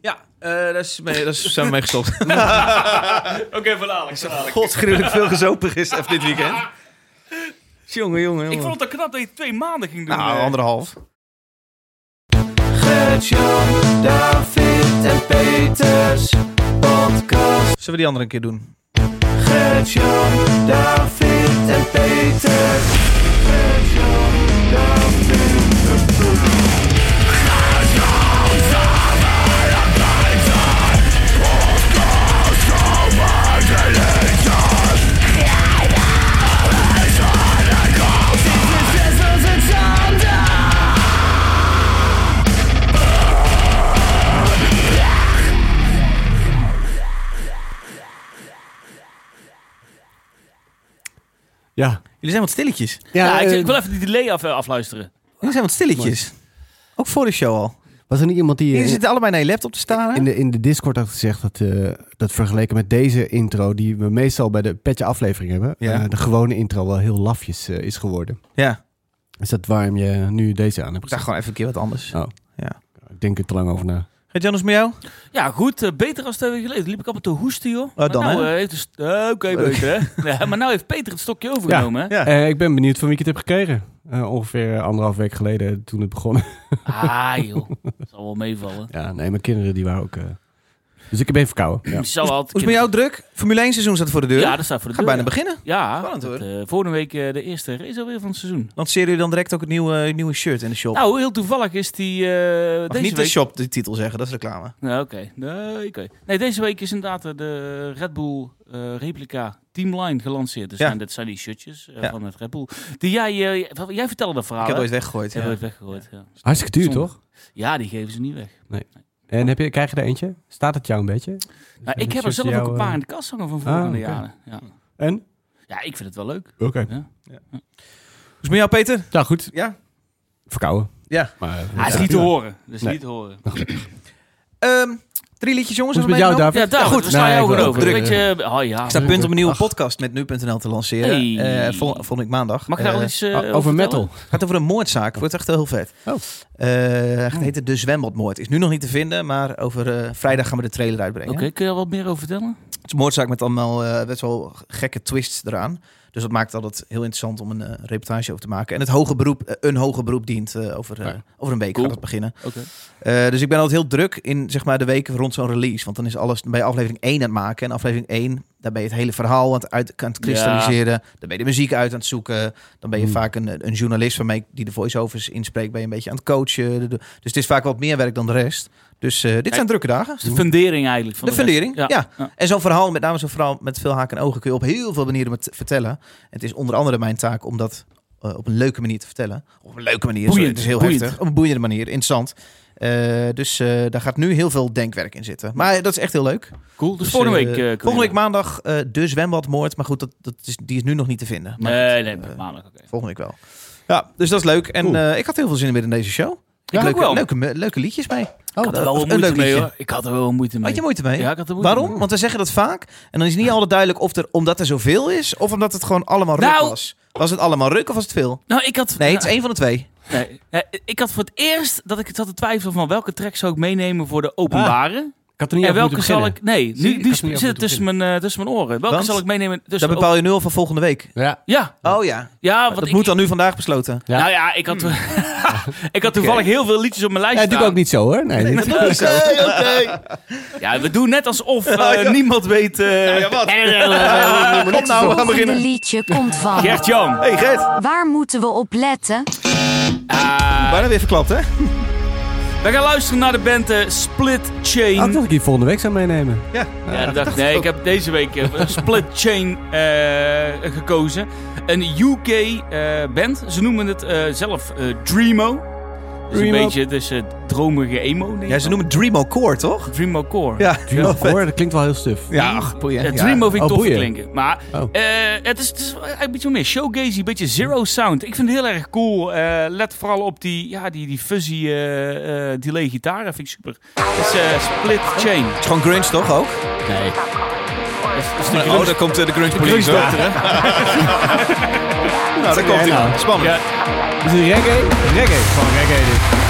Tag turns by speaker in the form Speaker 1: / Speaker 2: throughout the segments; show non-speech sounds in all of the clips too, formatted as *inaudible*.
Speaker 1: Ja, eh, daar is mee, daar is- zijn we mee gestopt.
Speaker 2: Oké, van Alex. van Alex.
Speaker 3: Godsgruwelijk veel gezopen gisteren dit weekend. Jongen, jongen, jongen.
Speaker 2: Ik vond het al knap dat je twee maanden ging doen.
Speaker 3: Nou,
Speaker 2: eh.
Speaker 3: anderhalf.
Speaker 4: David en Peters podcast.
Speaker 1: Zullen we die andere een keer doen?
Speaker 4: Gert-Jan, David en Peters. Gert-Jan, David en Peters.
Speaker 5: Ja.
Speaker 1: Jullie zijn wat stilletjes.
Speaker 2: Ja, ik,
Speaker 5: eh,
Speaker 2: ik wil even die delay af, eh, afluisteren.
Speaker 1: Jullie zijn wat stilletjes. Ook voor de show al.
Speaker 5: was er niet iemand die eh,
Speaker 1: Jullie zitten allebei naar je laptop te staren.
Speaker 5: in, de, in de Discord had gezegd dat, eh, dat vergeleken met deze intro, die we meestal bij de petje aflevering hebben,
Speaker 1: Ja.
Speaker 5: eh, de gewone intro wel heel lafjes eh, is geworden.
Speaker 1: Ja,
Speaker 5: Is dat waarom je nu deze aan hebt
Speaker 1: ik dacht
Speaker 5: gezet?
Speaker 1: gewoon even een keer wat anders.
Speaker 5: Oh.
Speaker 1: Ja.
Speaker 5: Ik denk er te lang over na.
Speaker 1: Gaat Janus met jou?
Speaker 2: Ja, goed. eh, beter als twee weken geleden. Liep ik allemaal te hoesten, joh. Maar
Speaker 1: Oh, dan,
Speaker 2: nou,
Speaker 1: hè?
Speaker 2: eh, heeft de st- eh, Oké, beter, hè? *laughs* Ja, maar nou heeft Peter het stokje overgenomen, hè?
Speaker 1: Ja.
Speaker 5: Eh, ik ben benieuwd van wie ik het heb gekregen. Eh, ongeveer anderhalf week geleden toen het begon. *laughs*
Speaker 2: Ah, joh. Dat zal wel meevallen.
Speaker 5: ja, nee, mijn kinderen die waren ook... eh, Dus ik heb even verkouden. Ja.
Speaker 2: Zal altijd
Speaker 1: Hoe is het met jou druk? Formule 1 seizoen staat voor de deur.
Speaker 2: Ja, dat staat voor de
Speaker 1: Gaat
Speaker 2: deur,
Speaker 1: bijna
Speaker 2: ja.
Speaker 1: beginnen.
Speaker 2: Ja,
Speaker 1: Spannend,
Speaker 2: dat,
Speaker 1: hoor.
Speaker 2: eh, volgende week eh, de eerste race alweer van het seizoen.
Speaker 1: Lanceren jullie dan direct ook het nieuwe, nieuwe shirt in de shop?
Speaker 2: Nou, heel toevallig is die eh,
Speaker 1: Mag
Speaker 2: deze
Speaker 1: niet
Speaker 2: week...
Speaker 1: de shop de titel zeggen, dat is reclame.
Speaker 2: Nou, oké. Nee, oké. Nee, deze week is inderdaad eh, de Red Bull eh, replica Teamline gelanceerd. Dus
Speaker 1: Ja.
Speaker 2: zijn, dat zijn die shirtjes eh,
Speaker 1: Ja.
Speaker 2: van het Red Bull. Die jij, eh, jij vertelde dat verhaal,
Speaker 1: ik heb
Speaker 2: hè?
Speaker 1: ooit weggegooid.
Speaker 2: Hebben
Speaker 1: ja.
Speaker 2: we het weggegooid, ja.
Speaker 5: Hartstikke duur,
Speaker 2: Zonde.
Speaker 5: toch?
Speaker 2: Ja, die geven ze niet weg.
Speaker 5: En heb je, krijg je er eentje? Staat het jou een beetje?
Speaker 2: Nou,
Speaker 5: Dus
Speaker 2: ik
Speaker 5: dat
Speaker 2: heb er
Speaker 5: shirtje
Speaker 2: zelf ook
Speaker 5: jou,
Speaker 2: een paar
Speaker 5: eh,
Speaker 2: in de kast hangen van vorige
Speaker 5: oké.
Speaker 2: jaren. Ja.
Speaker 5: En?
Speaker 2: ja, ik vind het wel leuk.
Speaker 5: Oké.
Speaker 1: Hoe is het met jou, Peter?
Speaker 5: Nou goed,
Speaker 1: Ja.
Speaker 5: verkouden.
Speaker 1: Ja.
Speaker 5: Maar, eh,
Speaker 2: Ah, is
Speaker 5: ja.
Speaker 2: niet te horen. Dat is
Speaker 5: Nee.
Speaker 2: niet te horen.
Speaker 1: Ehm, drie liedjes, jongens.
Speaker 5: Hoe is
Speaker 1: hebben
Speaker 5: het met jou,
Speaker 1: we meegenomen.
Speaker 5: David?
Speaker 2: Ja, daar
Speaker 1: goed.
Speaker 2: goed. Daar sla
Speaker 5: Nee,
Speaker 2: je
Speaker 5: ik
Speaker 2: ook
Speaker 5: wil
Speaker 2: over.
Speaker 1: ook
Speaker 2: Een beetje, eh, oh ja.
Speaker 1: Ik sta punt om een nieuwe
Speaker 5: Ach.
Speaker 1: podcast met nu.nl te lanceren.
Speaker 2: Hey.
Speaker 1: Eh, vol- volgende week maandag.
Speaker 2: Mag ik daar al
Speaker 1: Eh,
Speaker 2: iets eh,
Speaker 5: O- Ah, over
Speaker 2: vertellen?
Speaker 5: metal.
Speaker 1: Het gaat over een moordzaak. Wordt echt heel vet.
Speaker 5: Oh.
Speaker 1: Eh,
Speaker 2: Oh.
Speaker 1: het heette De Zwembadmoord. Is nu nog niet te vinden, maar over eh, vrijdag gaan we de trailer uitbrengen.
Speaker 2: Oké, kun je daar wat meer over vertellen?
Speaker 1: Het is een moordzaak met allemaal eh, best wel gekke twists eraan. Dus dat maakt altijd heel interessant om een eh, reportage over te maken. En het hoge beroep, eh, een hoger beroep dient eh, over, eh,
Speaker 5: Ja.
Speaker 1: over een week
Speaker 2: Cool.
Speaker 1: gaat het beginnen.
Speaker 2: Oké.
Speaker 1: Eh, dus ik ben altijd heel druk in zeg maar, de weken rond zo'n release. Want dan is alles bij aflevering 1 aan het maken. En aflevering 1, daar ben je het hele verhaal aan het, uit, aan het kristalliseren. Dan ben je de muziek uit aan het zoeken. Dan ben je
Speaker 5: Hmm.
Speaker 1: vaak een, een journalist waarmee ik die de voiceovers inspreekt. Ben je een beetje aan het coachen. De- de- Dus het is vaak wat meer werk dan de rest. Dus eh, dit zijn drukke dagen.
Speaker 2: Dat is Dus de fundering eigenlijk. Van
Speaker 1: De
Speaker 2: de rest.
Speaker 1: fundering, ja. En zo'n verhaal, met name zo'n verhaal met veel haken en ogen, kun je op heel veel manieren met vertellen. En het is onder andere mijn taak om dat eh, op een leuke manier te vertellen. Op een leuke manier, sorry,
Speaker 2: Boeiend,
Speaker 1: het is heel
Speaker 2: boeiend.
Speaker 1: heftig. Op een boeiende manier, interessant. Eh, dus eh, daar gaat nu heel veel denkwerk in zitten. Maar dat is echt heel leuk.
Speaker 2: Cool. Dus
Speaker 1: Dus,
Speaker 2: volgende
Speaker 1: eh,
Speaker 2: week. eh, kunnen
Speaker 1: volgende
Speaker 2: we-
Speaker 1: week maandag eh, de zwembadmoord. Maar goed, dat, dat is, die is nu nog niet te vinden. Maar
Speaker 2: Nee,
Speaker 1: goed,
Speaker 2: nee,
Speaker 1: eh,
Speaker 2: maandag. oké.
Speaker 1: volgende week wel. Ja, dus dat is leuk. En
Speaker 5: Cool.
Speaker 1: eh, ik had heel veel zin in weer in deze show.
Speaker 2: Ja,
Speaker 1: leuke,
Speaker 2: ook wel.
Speaker 1: Leuke, me- leuke liedjes mee.
Speaker 2: Ik had er wel
Speaker 1: Oh, dat-
Speaker 2: wat
Speaker 1: een
Speaker 2: moeite
Speaker 1: leuk
Speaker 2: mee
Speaker 1: liedje.
Speaker 2: hoor. Ik had er wel wat moeite mee.
Speaker 1: Had je moeite mee?
Speaker 2: Ja, ik had er moeite
Speaker 1: Waarom?
Speaker 2: mee.
Speaker 1: Want we zeggen dat vaak. En dan is het niet altijd duidelijk of er, omdat er zoveel is, of omdat het gewoon allemaal ruk
Speaker 2: Nou.
Speaker 1: was. Was het allemaal ruk of was het veel?
Speaker 2: Nou, ik had.
Speaker 1: Nee, het is één van de twee.
Speaker 2: Nee. Eh, Ik had voor het eerst dat ik zat te twijfelen van welke track zou ik meenemen voor de
Speaker 1: Ah,
Speaker 2: openbare.
Speaker 5: Ik had er niet
Speaker 2: en
Speaker 5: over
Speaker 2: welke
Speaker 5: moeten
Speaker 2: zal ik.
Speaker 5: beginnen.
Speaker 2: Nee,
Speaker 5: Zie je,
Speaker 2: nu,
Speaker 5: ik
Speaker 2: nu
Speaker 5: had er niet
Speaker 2: zit het
Speaker 5: over
Speaker 2: tussen mijn, eh, tussen mijn oren. Welke
Speaker 1: Want?
Speaker 2: zal ik meenemen? Tussen
Speaker 1: Dat bepaal je nu al van volgende week.
Speaker 5: Ja.
Speaker 2: Ja,
Speaker 1: Oh ja,
Speaker 2: ja want
Speaker 1: dat
Speaker 2: ik,
Speaker 1: moet dan nu vandaag besloten.
Speaker 5: Ja.
Speaker 2: Nou
Speaker 1: *laughs*
Speaker 2: ja, ik had, ik had toevallig heel veel liedjes op mijn
Speaker 5: Ja,
Speaker 2: lijst
Speaker 5: natuurlijk ook niet zo hoor. Nee, dit-
Speaker 1: Oké, *laughs* oké.
Speaker 2: Ja, we doen net
Speaker 1: *laughs*
Speaker 2: alsof eh,
Speaker 1: Oh, Ja, ja.
Speaker 2: niemand weet... eh
Speaker 1: ja, wat?
Speaker 2: Kom nou.
Speaker 1: Oh, we
Speaker 6: Het
Speaker 1: gaan
Speaker 6: volgende
Speaker 1: beginnen.
Speaker 6: liedje komt van.
Speaker 2: *laughs* Gert-Jan.
Speaker 1: Hey Gert,
Speaker 6: Waar moeten we op letten?
Speaker 2: Ah,
Speaker 1: bijna weer verklapt hè?
Speaker 2: we gaan luisteren naar de band eh, Split
Speaker 5: Had
Speaker 2: Chain.
Speaker 5: ik dat ik die volgende week zou meenemen.
Speaker 1: Ja.
Speaker 2: Ja, dat dacht, ik. nee, ik heb deze week eh, Split Chain eh, gekozen. Een UK eh, band. Ze noemen het eh, zelf eh, Dreamo. Dus een
Speaker 5: Dreamo.
Speaker 2: beetje dus, eh, dromige emo. denk ik
Speaker 1: Ja, ze
Speaker 2: wel.
Speaker 1: noemen het Dreamo Core, toch?
Speaker 2: Dreamo Core.
Speaker 1: Ja,
Speaker 5: Dream of Horror, dat klinkt wel heel suf.
Speaker 1: Ja, ach, boeien.
Speaker 2: Ja,
Speaker 1: Ja.
Speaker 2: Dream of ik
Speaker 5: Oh,
Speaker 2: tof
Speaker 5: boeien.
Speaker 2: klinken. Maar
Speaker 5: Oh.
Speaker 2: eh, het, is, het is eigenlijk een beetje wat meer showgazy, een beetje zero sound. Ik vind het heel erg cool. Eh, let vooral op die, ja, die, die fuzzy eh, eh, delay gitaar. Dat vind ik super. Het is eh, Split Chain.
Speaker 1: Het is gewoon grunge toch ook?
Speaker 2: Nee.
Speaker 1: Oh, daar komt eh, de grunge police. hoor. *laughs*
Speaker 2: Grunge
Speaker 1: Nou, daar komt hij.
Speaker 5: nou?
Speaker 1: Spannend.
Speaker 2: ja,
Speaker 5: Is het reggae? Reggae. Gewoon reggae dit.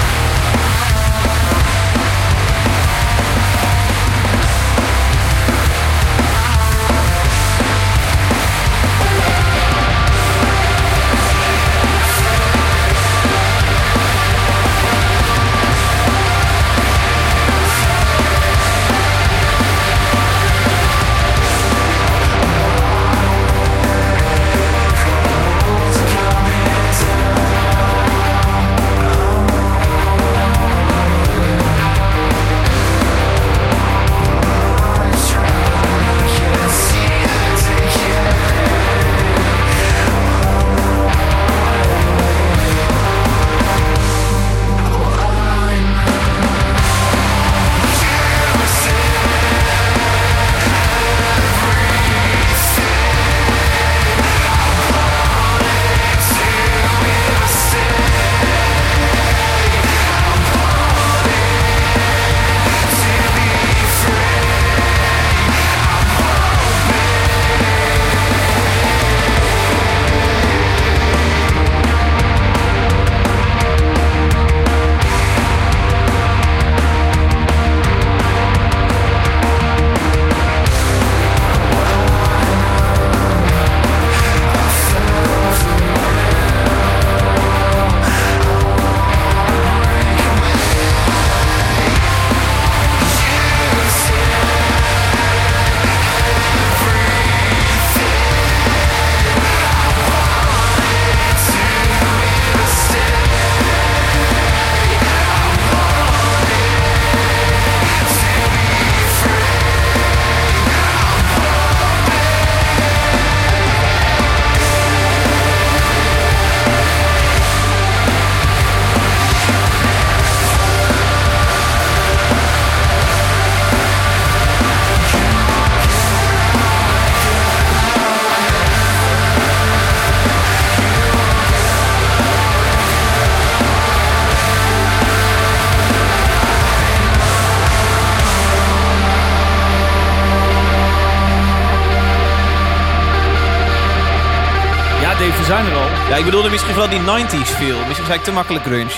Speaker 2: zijn er al.
Speaker 1: Ja, ik bedoelde misschien vooral die 90s feel. Misschien zei ik te makkelijk grunge.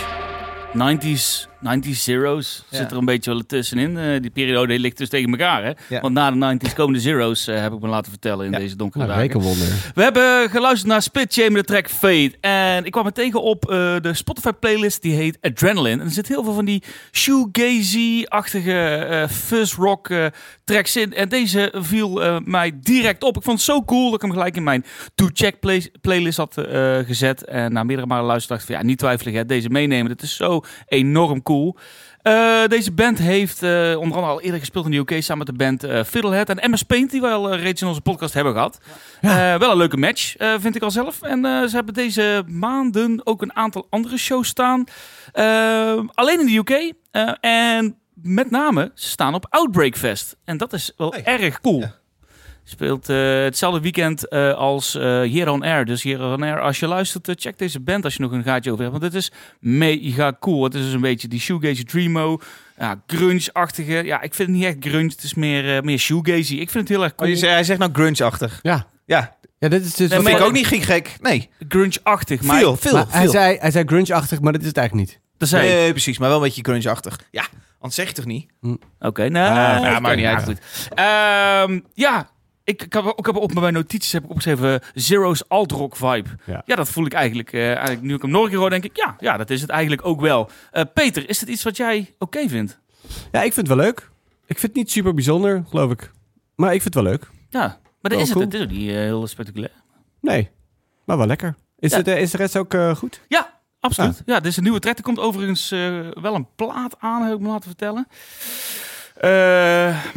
Speaker 2: 90s, 90s zeros
Speaker 1: Ja.
Speaker 2: zit er een beetje wel tussenin. Eh, die periode ligt dus tegen elkaar. Hè?
Speaker 1: Ja.
Speaker 2: Want na de 90s komen de zeros, eh, heb ik me laten vertellen in
Speaker 1: Ja.
Speaker 2: deze donkere
Speaker 5: Nou,
Speaker 2: dagen.
Speaker 5: rekenwonder.
Speaker 2: We hebben geluisterd naar Spit Chain met de track Fade. En ik kwam me tegen op eh, de Spotify playlist die heet Adrenaline. En er zit heel veel van die shoegazy-achtige eh fuzz rock eh, tracks in. En deze viel eh, mij direct op. Ik vond het zo cool dat ik hem gelijk in mijn To Check play- playlist had eh, gezet. En na meerdere malen luisteren dacht ik van ja, niet twijfelen. Hè, deze meenemen. Dit is zo enorm cool. Eh, deze band heeft eh, onder andere al eerder gespeeld in de UK samen met de band eh, Fiddlehead en MS Paint, die we al eh, reeds in onze podcast hebben gehad. Eh, wel een leuke match, eh, vind ik al zelf. En eh, ze hebben deze maanden ook een aantal andere shows staan. Eh, alleen in de UK. Eh, en met name, ze staan op Outbreak Fest. En dat is wel erg cool. Speelt eh, hetzelfde weekend eh, als eh Here on Air. Dus Here on Air, als je luistert, eh, check deze band als je nog een gaatje over hebt. Want het is mega cool. Het is dus een beetje die shoegaze dreamo, ja, grunge-achtige. Ja, ik vind het niet echt grunge. Het is meer, eh, meer shoegazy. Ik vind het heel erg
Speaker 1: Oh,
Speaker 2: cool.
Speaker 1: je zegt, hij zegt nou grunge-achtig.
Speaker 5: Ja.
Speaker 1: Ja,
Speaker 5: ja, dit is dus...
Speaker 2: Nee,
Speaker 1: dat
Speaker 2: maar-
Speaker 1: vind ik ook niet gek- gek. Nee,
Speaker 2: grunge-achtig. Maar
Speaker 1: veel, veel,
Speaker 5: Maar hij,
Speaker 1: veel.
Speaker 5: zei, hij zei grunge-achtig, maar dat is het eigenlijk niet.
Speaker 2: dat zei
Speaker 1: Nee, precies, maar wel een beetje grunge-achtig. Ja, anders zeg je toch niet?
Speaker 2: Oké, nou...
Speaker 1: Ah, ja,
Speaker 2: oké,
Speaker 1: maakt niet
Speaker 2: nou
Speaker 1: uit.
Speaker 2: Goed. Ehm, ja, ik, ik, heb, ik heb op mijn notities heb ik opgeschreven eh, Zero's alt-rock vibe. Ja.
Speaker 5: Ja.
Speaker 2: dat voel ik eigenlijk, eh, eigenlijk nu ik hem nog een keer hoor, denk ik, ja, ja, dat is het eigenlijk ook wel. Eh, Peter, is dit iets wat jij oké vindt?
Speaker 5: Ja, ik vind het wel leuk. Ik vind het niet super bijzonder, geloof ik. Maar ik vind het wel leuk.
Speaker 2: Ja, maar dat
Speaker 5: Wel
Speaker 2: is
Speaker 5: cool.
Speaker 2: het. Het is ook niet eh, heel spectaculair.
Speaker 5: Nee, maar wel lekker. Is,
Speaker 2: Ja.
Speaker 5: het, eh, is de rest ook eh, goed?
Speaker 2: Ja, absoluut. Ja, dit is een nieuwe track. Er komt overigens eh, wel een plaat aan, heb ik me laten vertellen. Eh,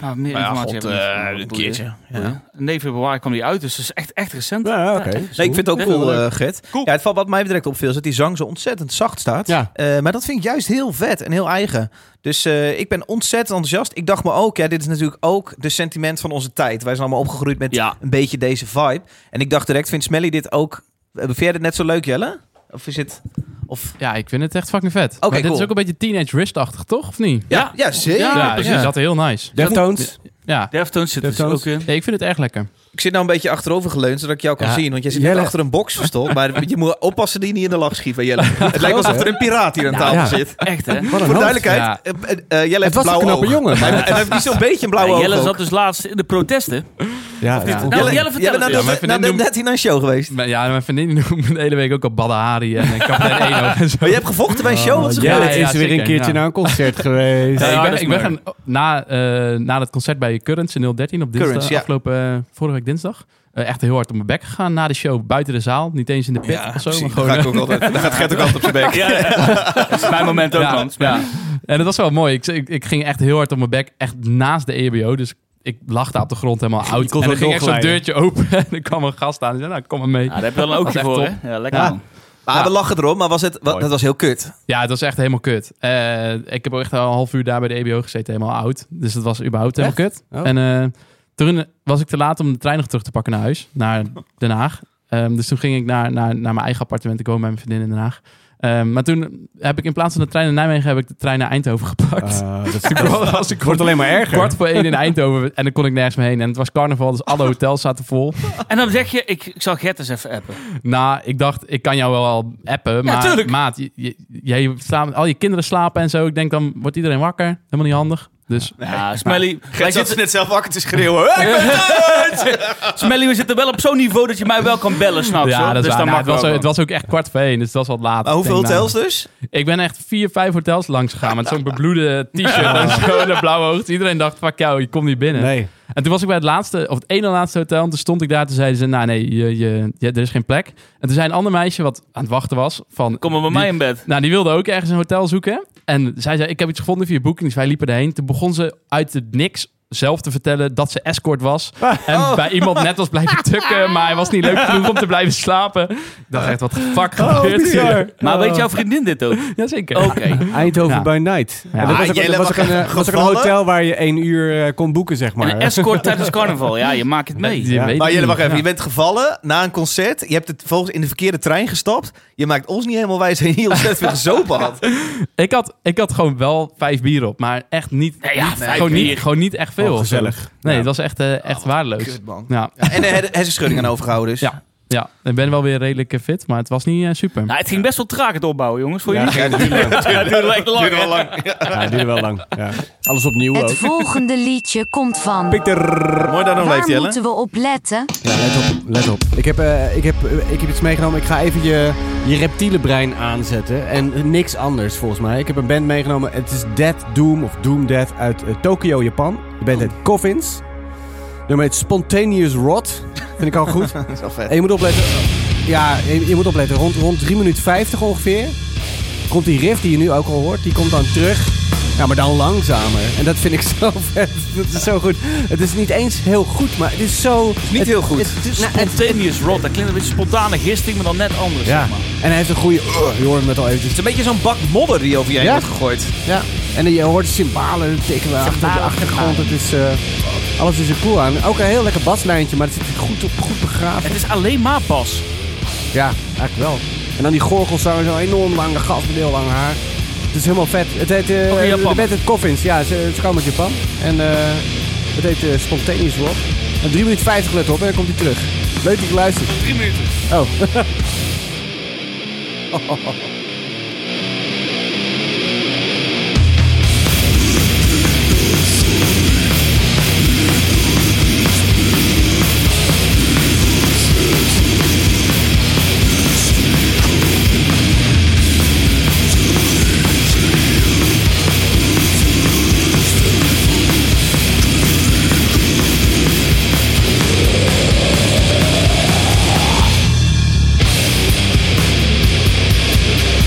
Speaker 2: nou, meer
Speaker 1: Maar ja,
Speaker 2: informatie
Speaker 1: god,
Speaker 2: hebben we niet.
Speaker 1: eh, een keertje. Ja.
Speaker 2: Ja. 9 februari kwam die uit, dus dat is echt, echt recent.
Speaker 5: Ja, oké.
Speaker 1: Nee, ik vind het ook
Speaker 2: Ja,
Speaker 1: cool,
Speaker 2: leuk.
Speaker 1: eh Gert.
Speaker 2: Cool.
Speaker 1: Ja, het valt wat mij direct opviel is dat die zang zo ontzettend zacht staat.
Speaker 5: Ja.
Speaker 1: Eh, maar dat vind ik juist heel vet en heel eigen. Dus eh, ik ben ontzettend enthousiast. Ik dacht me ook, ja, dit is natuurlijk ook de sentiment van onze tijd. Wij zijn allemaal opgegroeid met
Speaker 2: Ja.
Speaker 1: een beetje deze vibe. En ik dacht direct, vindt Smelly dit ook... eh, Vind jij dit net zo leuk, Jelle? Of is het... Of...
Speaker 7: Ja, ik vind het echt fucking vet. Maar dit
Speaker 1: cool.
Speaker 7: is ook een beetje Teenage Wrist-achtig, toch? Of niet?
Speaker 1: Ja, ja, zeker.
Speaker 2: Ja,
Speaker 7: precies. Dat is heel nice.
Speaker 5: Deftones.
Speaker 7: Ja.
Speaker 2: Deftones zit er dus
Speaker 5: Deftones.
Speaker 2: ook in.
Speaker 7: Nee, ik vind het echt lekker.
Speaker 1: Ik zit nou een beetje achterover geleund, zodat ik jou kan
Speaker 7: Ja.
Speaker 1: zien. Want jij zit
Speaker 5: Jelle-
Speaker 1: net achter een box verstopt. maar je moet oppassen die je niet in de lach schiet van Jelle. het lijkt alsof er een piraat hier aan tafel
Speaker 5: ja.
Speaker 1: zit.
Speaker 2: Echt, hè?
Speaker 5: Wat een
Speaker 1: Voor de
Speaker 5: hoofd.
Speaker 1: duidelijkheid,
Speaker 7: Ja.
Speaker 1: eh, eh, eh, Jelle heeft
Speaker 5: Het was een
Speaker 1: blauwe
Speaker 5: knappe
Speaker 1: ogen.
Speaker 5: jongen.
Speaker 1: Hij
Speaker 5: maar-
Speaker 1: heeft- *laughs* en hij heeft niet zo'n beetje een blauwe
Speaker 2: Ja,
Speaker 1: ogen.
Speaker 2: Jelle
Speaker 1: ook.
Speaker 2: zat dus laatst in de protesten.
Speaker 5: Ja, ja.
Speaker 2: Nou, Jelle,
Speaker 1: Jelle,
Speaker 2: vertel
Speaker 1: nou,
Speaker 2: het.
Speaker 7: Ja,
Speaker 1: dat-
Speaker 7: mijn
Speaker 1: nou,
Speaker 7: vriendin
Speaker 1: dat- net hier naar een show geweest.
Speaker 7: Maar Ja, mijn vriendin noemt me de hele week ook al Badahari en Kapitein Eno en zo.
Speaker 1: Maar je hebt gevochten bij een show? wat ze
Speaker 5: Jelle
Speaker 7: Ja,
Speaker 5: is
Speaker 7: ja,
Speaker 5: weer
Speaker 7: zeker,
Speaker 5: een keertje
Speaker 7: ja.
Speaker 5: naar een concert geweest.
Speaker 7: Ja,
Speaker 2: Ja,
Speaker 7: ik
Speaker 2: dat
Speaker 7: ben,
Speaker 2: is
Speaker 7: ik ben
Speaker 2: mooi.
Speaker 7: gaan- na, eh, na dat concert bij Currents in 013 op dinsdag,
Speaker 1: Currents, ja.
Speaker 7: afgelopen eh, vorige week dinsdag, eh, echt heel hard op mijn bek gegaan na de show buiten de zaal. Niet eens in de pit of zo. maar
Speaker 1: precies. Daar
Speaker 7: gewoon,
Speaker 1: ga
Speaker 7: eh,
Speaker 1: ik ook altijd- daar gaat Gert ook altijd op zijn bek.
Speaker 2: Ja, dat is mijn moment ook,
Speaker 7: Ja,
Speaker 2: man.
Speaker 7: ja. eh, En dat was wel mooi. Ik, ik, ik ging echt heel hard op mijn bek, echt naast de EBO. Dus ik lag daar op de grond helemaal oud.
Speaker 5: kon
Speaker 7: En
Speaker 5: wel
Speaker 7: er ging echt zo'n
Speaker 5: doorglijden.
Speaker 7: deurtje open *laughs* en er kwam een gast aan. Die zei, nou, kom maar mee.
Speaker 2: daar heb je wel een oogje
Speaker 7: echt
Speaker 2: voor,
Speaker 7: top.
Speaker 2: hè? Ja, lekker,
Speaker 5: Ja.
Speaker 2: man.
Speaker 1: Maar we lachen erom, maar was het, wa- dat was heel kut.
Speaker 7: Ja, het was echt helemaal kut. Eh, ik heb ook echt al een half uur daar bij de EBO gezeten, helemaal oud. Dus dat was überhaupt helemaal kut.
Speaker 5: Oh.
Speaker 7: En eh, toen was ik te laat om de trein nog terug te pakken naar huis, naar Den Haag. Ehm, dus toen ging ik naar, naar, naar mijn eigen appartement. Ik woon bij mijn vriendin in Den Haag. Ehm, maar toen heb ik in plaats van de trein naar Nijmegen, heb ik de trein naar Eindhoven gepakt.
Speaker 5: Eh, *laughs* dat-
Speaker 7: Ik
Speaker 5: dat-
Speaker 7: was ik
Speaker 5: Het wordt alleen maar erger.
Speaker 7: kwart voor één in Eindhoven en dan kon ik nergens meer heen. En het was carnaval, dus alle hotels zaten vol.
Speaker 2: En dan zeg je, ik, ik zal Gert eens even appen.
Speaker 7: Nou, ik dacht, ik kan jou wel al appen. Maar
Speaker 2: tuurlijk.
Speaker 7: maat, je, je, jij slaapt- al je kinderen slapen en zo. Ik denk, dan wordt iedereen wakker. Helemaal niet handig. Dus
Speaker 2: Ja, Smelly, wij
Speaker 3: Gert zat
Speaker 2: zitten,
Speaker 3: net zelf wakker te schreeuwen.
Speaker 1: Eh,
Speaker 3: Hey,
Speaker 2: Smelly, we zitten wel op zo'n niveau dat je mij wel kan bellen, snap je?
Speaker 7: ja, dat
Speaker 2: dus dan
Speaker 7: is waar. Nou,
Speaker 2: mag
Speaker 7: het, was,
Speaker 2: wel.
Speaker 7: ook- het was ook echt kwart voor één, dus dat was wat laat.
Speaker 1: Maar hoeveel
Speaker 7: Ik denk,
Speaker 1: hotels
Speaker 7: nou,
Speaker 1: dus?
Speaker 7: ik ben echt vier, vijf hotels langs gegaan met zo'n bebloede t-shirt
Speaker 2: *laughs*
Speaker 7: en zo'n blauwe oog. Dus Iedereen dacht, fuck jou, je komt niet binnen.
Speaker 5: Nee.
Speaker 7: En toen was ik bij het laatste, of het ene laatste hotel. En toen stond ik daar, toen zeiden ze, nou nee, je, je, je- er is geen plek. En toen zei een ander meisje, wat aan het wachten was, van...
Speaker 2: Kom maar bij
Speaker 7: die-
Speaker 2: mij in bed.
Speaker 7: Nou, die wilde ook ergens een hotel zoeken. En zij zei, ik heb iets gevonden via Booking. Dus wij liepen erheen. Toen begon ze uit het niks zelf te vertellen dat ze escort was. En bij iemand net was blijven tukken. Maar hij was niet leuk genoeg om te blijven slapen. Ik dacht echt, wat de fuck
Speaker 5: Oh, *laughs*
Speaker 7: gebeurt hier?
Speaker 5: eh,
Speaker 2: Maar weet jouw vriendin dit ook?
Speaker 7: Jazeker.
Speaker 2: Oké.
Speaker 5: Eindhoven
Speaker 7: Ja.
Speaker 5: by night.
Speaker 7: Ja.
Speaker 5: En dat was ook,
Speaker 3: Ah, Jelle
Speaker 5: dat was ook
Speaker 3: was
Speaker 5: een, eh, was ook een
Speaker 3: gevallen?
Speaker 5: hotel waar je één uur eh, kon boeken, zeg
Speaker 2: En
Speaker 5: maar.
Speaker 2: een escort tijdens carnaval. Ja, je maakt het mee.
Speaker 7: Je
Speaker 5: Ja.
Speaker 7: weet
Speaker 1: Maar
Speaker 7: het
Speaker 1: Jelle,
Speaker 7: niet.
Speaker 1: wacht even.
Speaker 7: Ja.
Speaker 1: Je bent gevallen na een concert. Je hebt het volgens in de verkeerde trein gestapt. Je maakt ons niet helemaal wijs en heel ontzettend veel gezopen had.
Speaker 7: Ik had, ik had gewoon wel vijf bier op, maar echt niet,
Speaker 2: Ja, ja,
Speaker 7: niet-
Speaker 2: vijf
Speaker 7: gewoon,
Speaker 2: bier.
Speaker 7: niet, gewoon niet echt veel.
Speaker 5: Oh, gezellig.
Speaker 7: Nee,
Speaker 5: Ja.
Speaker 7: het was echt, eh, echt waardeloos.
Speaker 1: Kut, man.
Speaker 7: Ja.
Speaker 1: En de her- hersenschudding aan overgehouden dus.
Speaker 7: Ja. Ja, ik ben wel weer redelijk eh, fit, maar het was niet eh, super.
Speaker 2: Nou, het ging best wel traag het opbouwen, jongens. Voor
Speaker 5: Ja,
Speaker 2: jullie.
Speaker 5: ja, het duurde lang.
Speaker 2: *laughs* Het duurde echt lang.
Speaker 3: Duurde wel
Speaker 2: hè?
Speaker 3: lang.
Speaker 5: Ja, het duurde wel lang. Ja. Alles opnieuw
Speaker 6: Het
Speaker 5: ook.
Speaker 6: volgende liedje komt van.
Speaker 5: Picter.
Speaker 3: Mooi daar nog
Speaker 6: Waar
Speaker 3: leeft, Jelle.
Speaker 6: moeten we op letten?
Speaker 5: Ja, let op, let op. Ik heb, eh, ik heb, eh, ik heb iets meegenomen. Ik ga even je, je reptiele brein aanzetten. En niks anders volgens mij. Ik heb een band meegenomen. Het is Dead Doom of Doom Dead uit eh, Tokyo, Japan. De band heet Coffins. Nummer heet Spontaneous Rot. Vind ik al
Speaker 1: *laughs*
Speaker 5: goed.
Speaker 1: Dat is wel vet.
Speaker 5: En je moet opletten. Ja, je, je moet opletten. Rond, rond 3 minuten 50 ongeveer. Komt die riff die je nu ook al hoort. Die komt dan terug. Ja, maar dan langzamer. En dat vind ik zo *laughs* vet. Dat is zo goed. Het is niet eens heel goed, maar het is zo...
Speaker 1: niet
Speaker 5: het-
Speaker 1: heel goed.
Speaker 5: Het, is- nou, het-
Speaker 2: Spontaneous rot. Dat klinkt een beetje spontane gisting, maar dan net anders.
Speaker 5: ja.
Speaker 2: zeg maar.
Speaker 5: En hij heeft een goede... je hoort hem het al eventjes.
Speaker 1: Het is een beetje zo'n bak modder die over je heen
Speaker 5: Ja?
Speaker 1: wordt gegooid.
Speaker 5: Ja. En je hoort cymbalen tikken achter de achtergrond. Het is... eh, alles is er cool aan. Ook een heel lekker baslijntje, maar het zit goed, op, goed begraven.
Speaker 2: Het is alleen maar pas.
Speaker 5: Ja, eigenlijk wel. En dan die gorgelzanger, zo'n enorm lange gast met heel lang haar. Het is helemaal vet. Het heet, eh,
Speaker 1: Oh,
Speaker 2: Ook in Japan?
Speaker 5: de band heet Coffins. Ja, eh, ze, ze komen uit Japan. En eh, het heet eh, Spontaneous Rock. En 3 minuten 50 let op en dan komt hij terug. Leuk dat je luistert.
Speaker 2: 3 minuten.
Speaker 5: Oh.
Speaker 8: Thank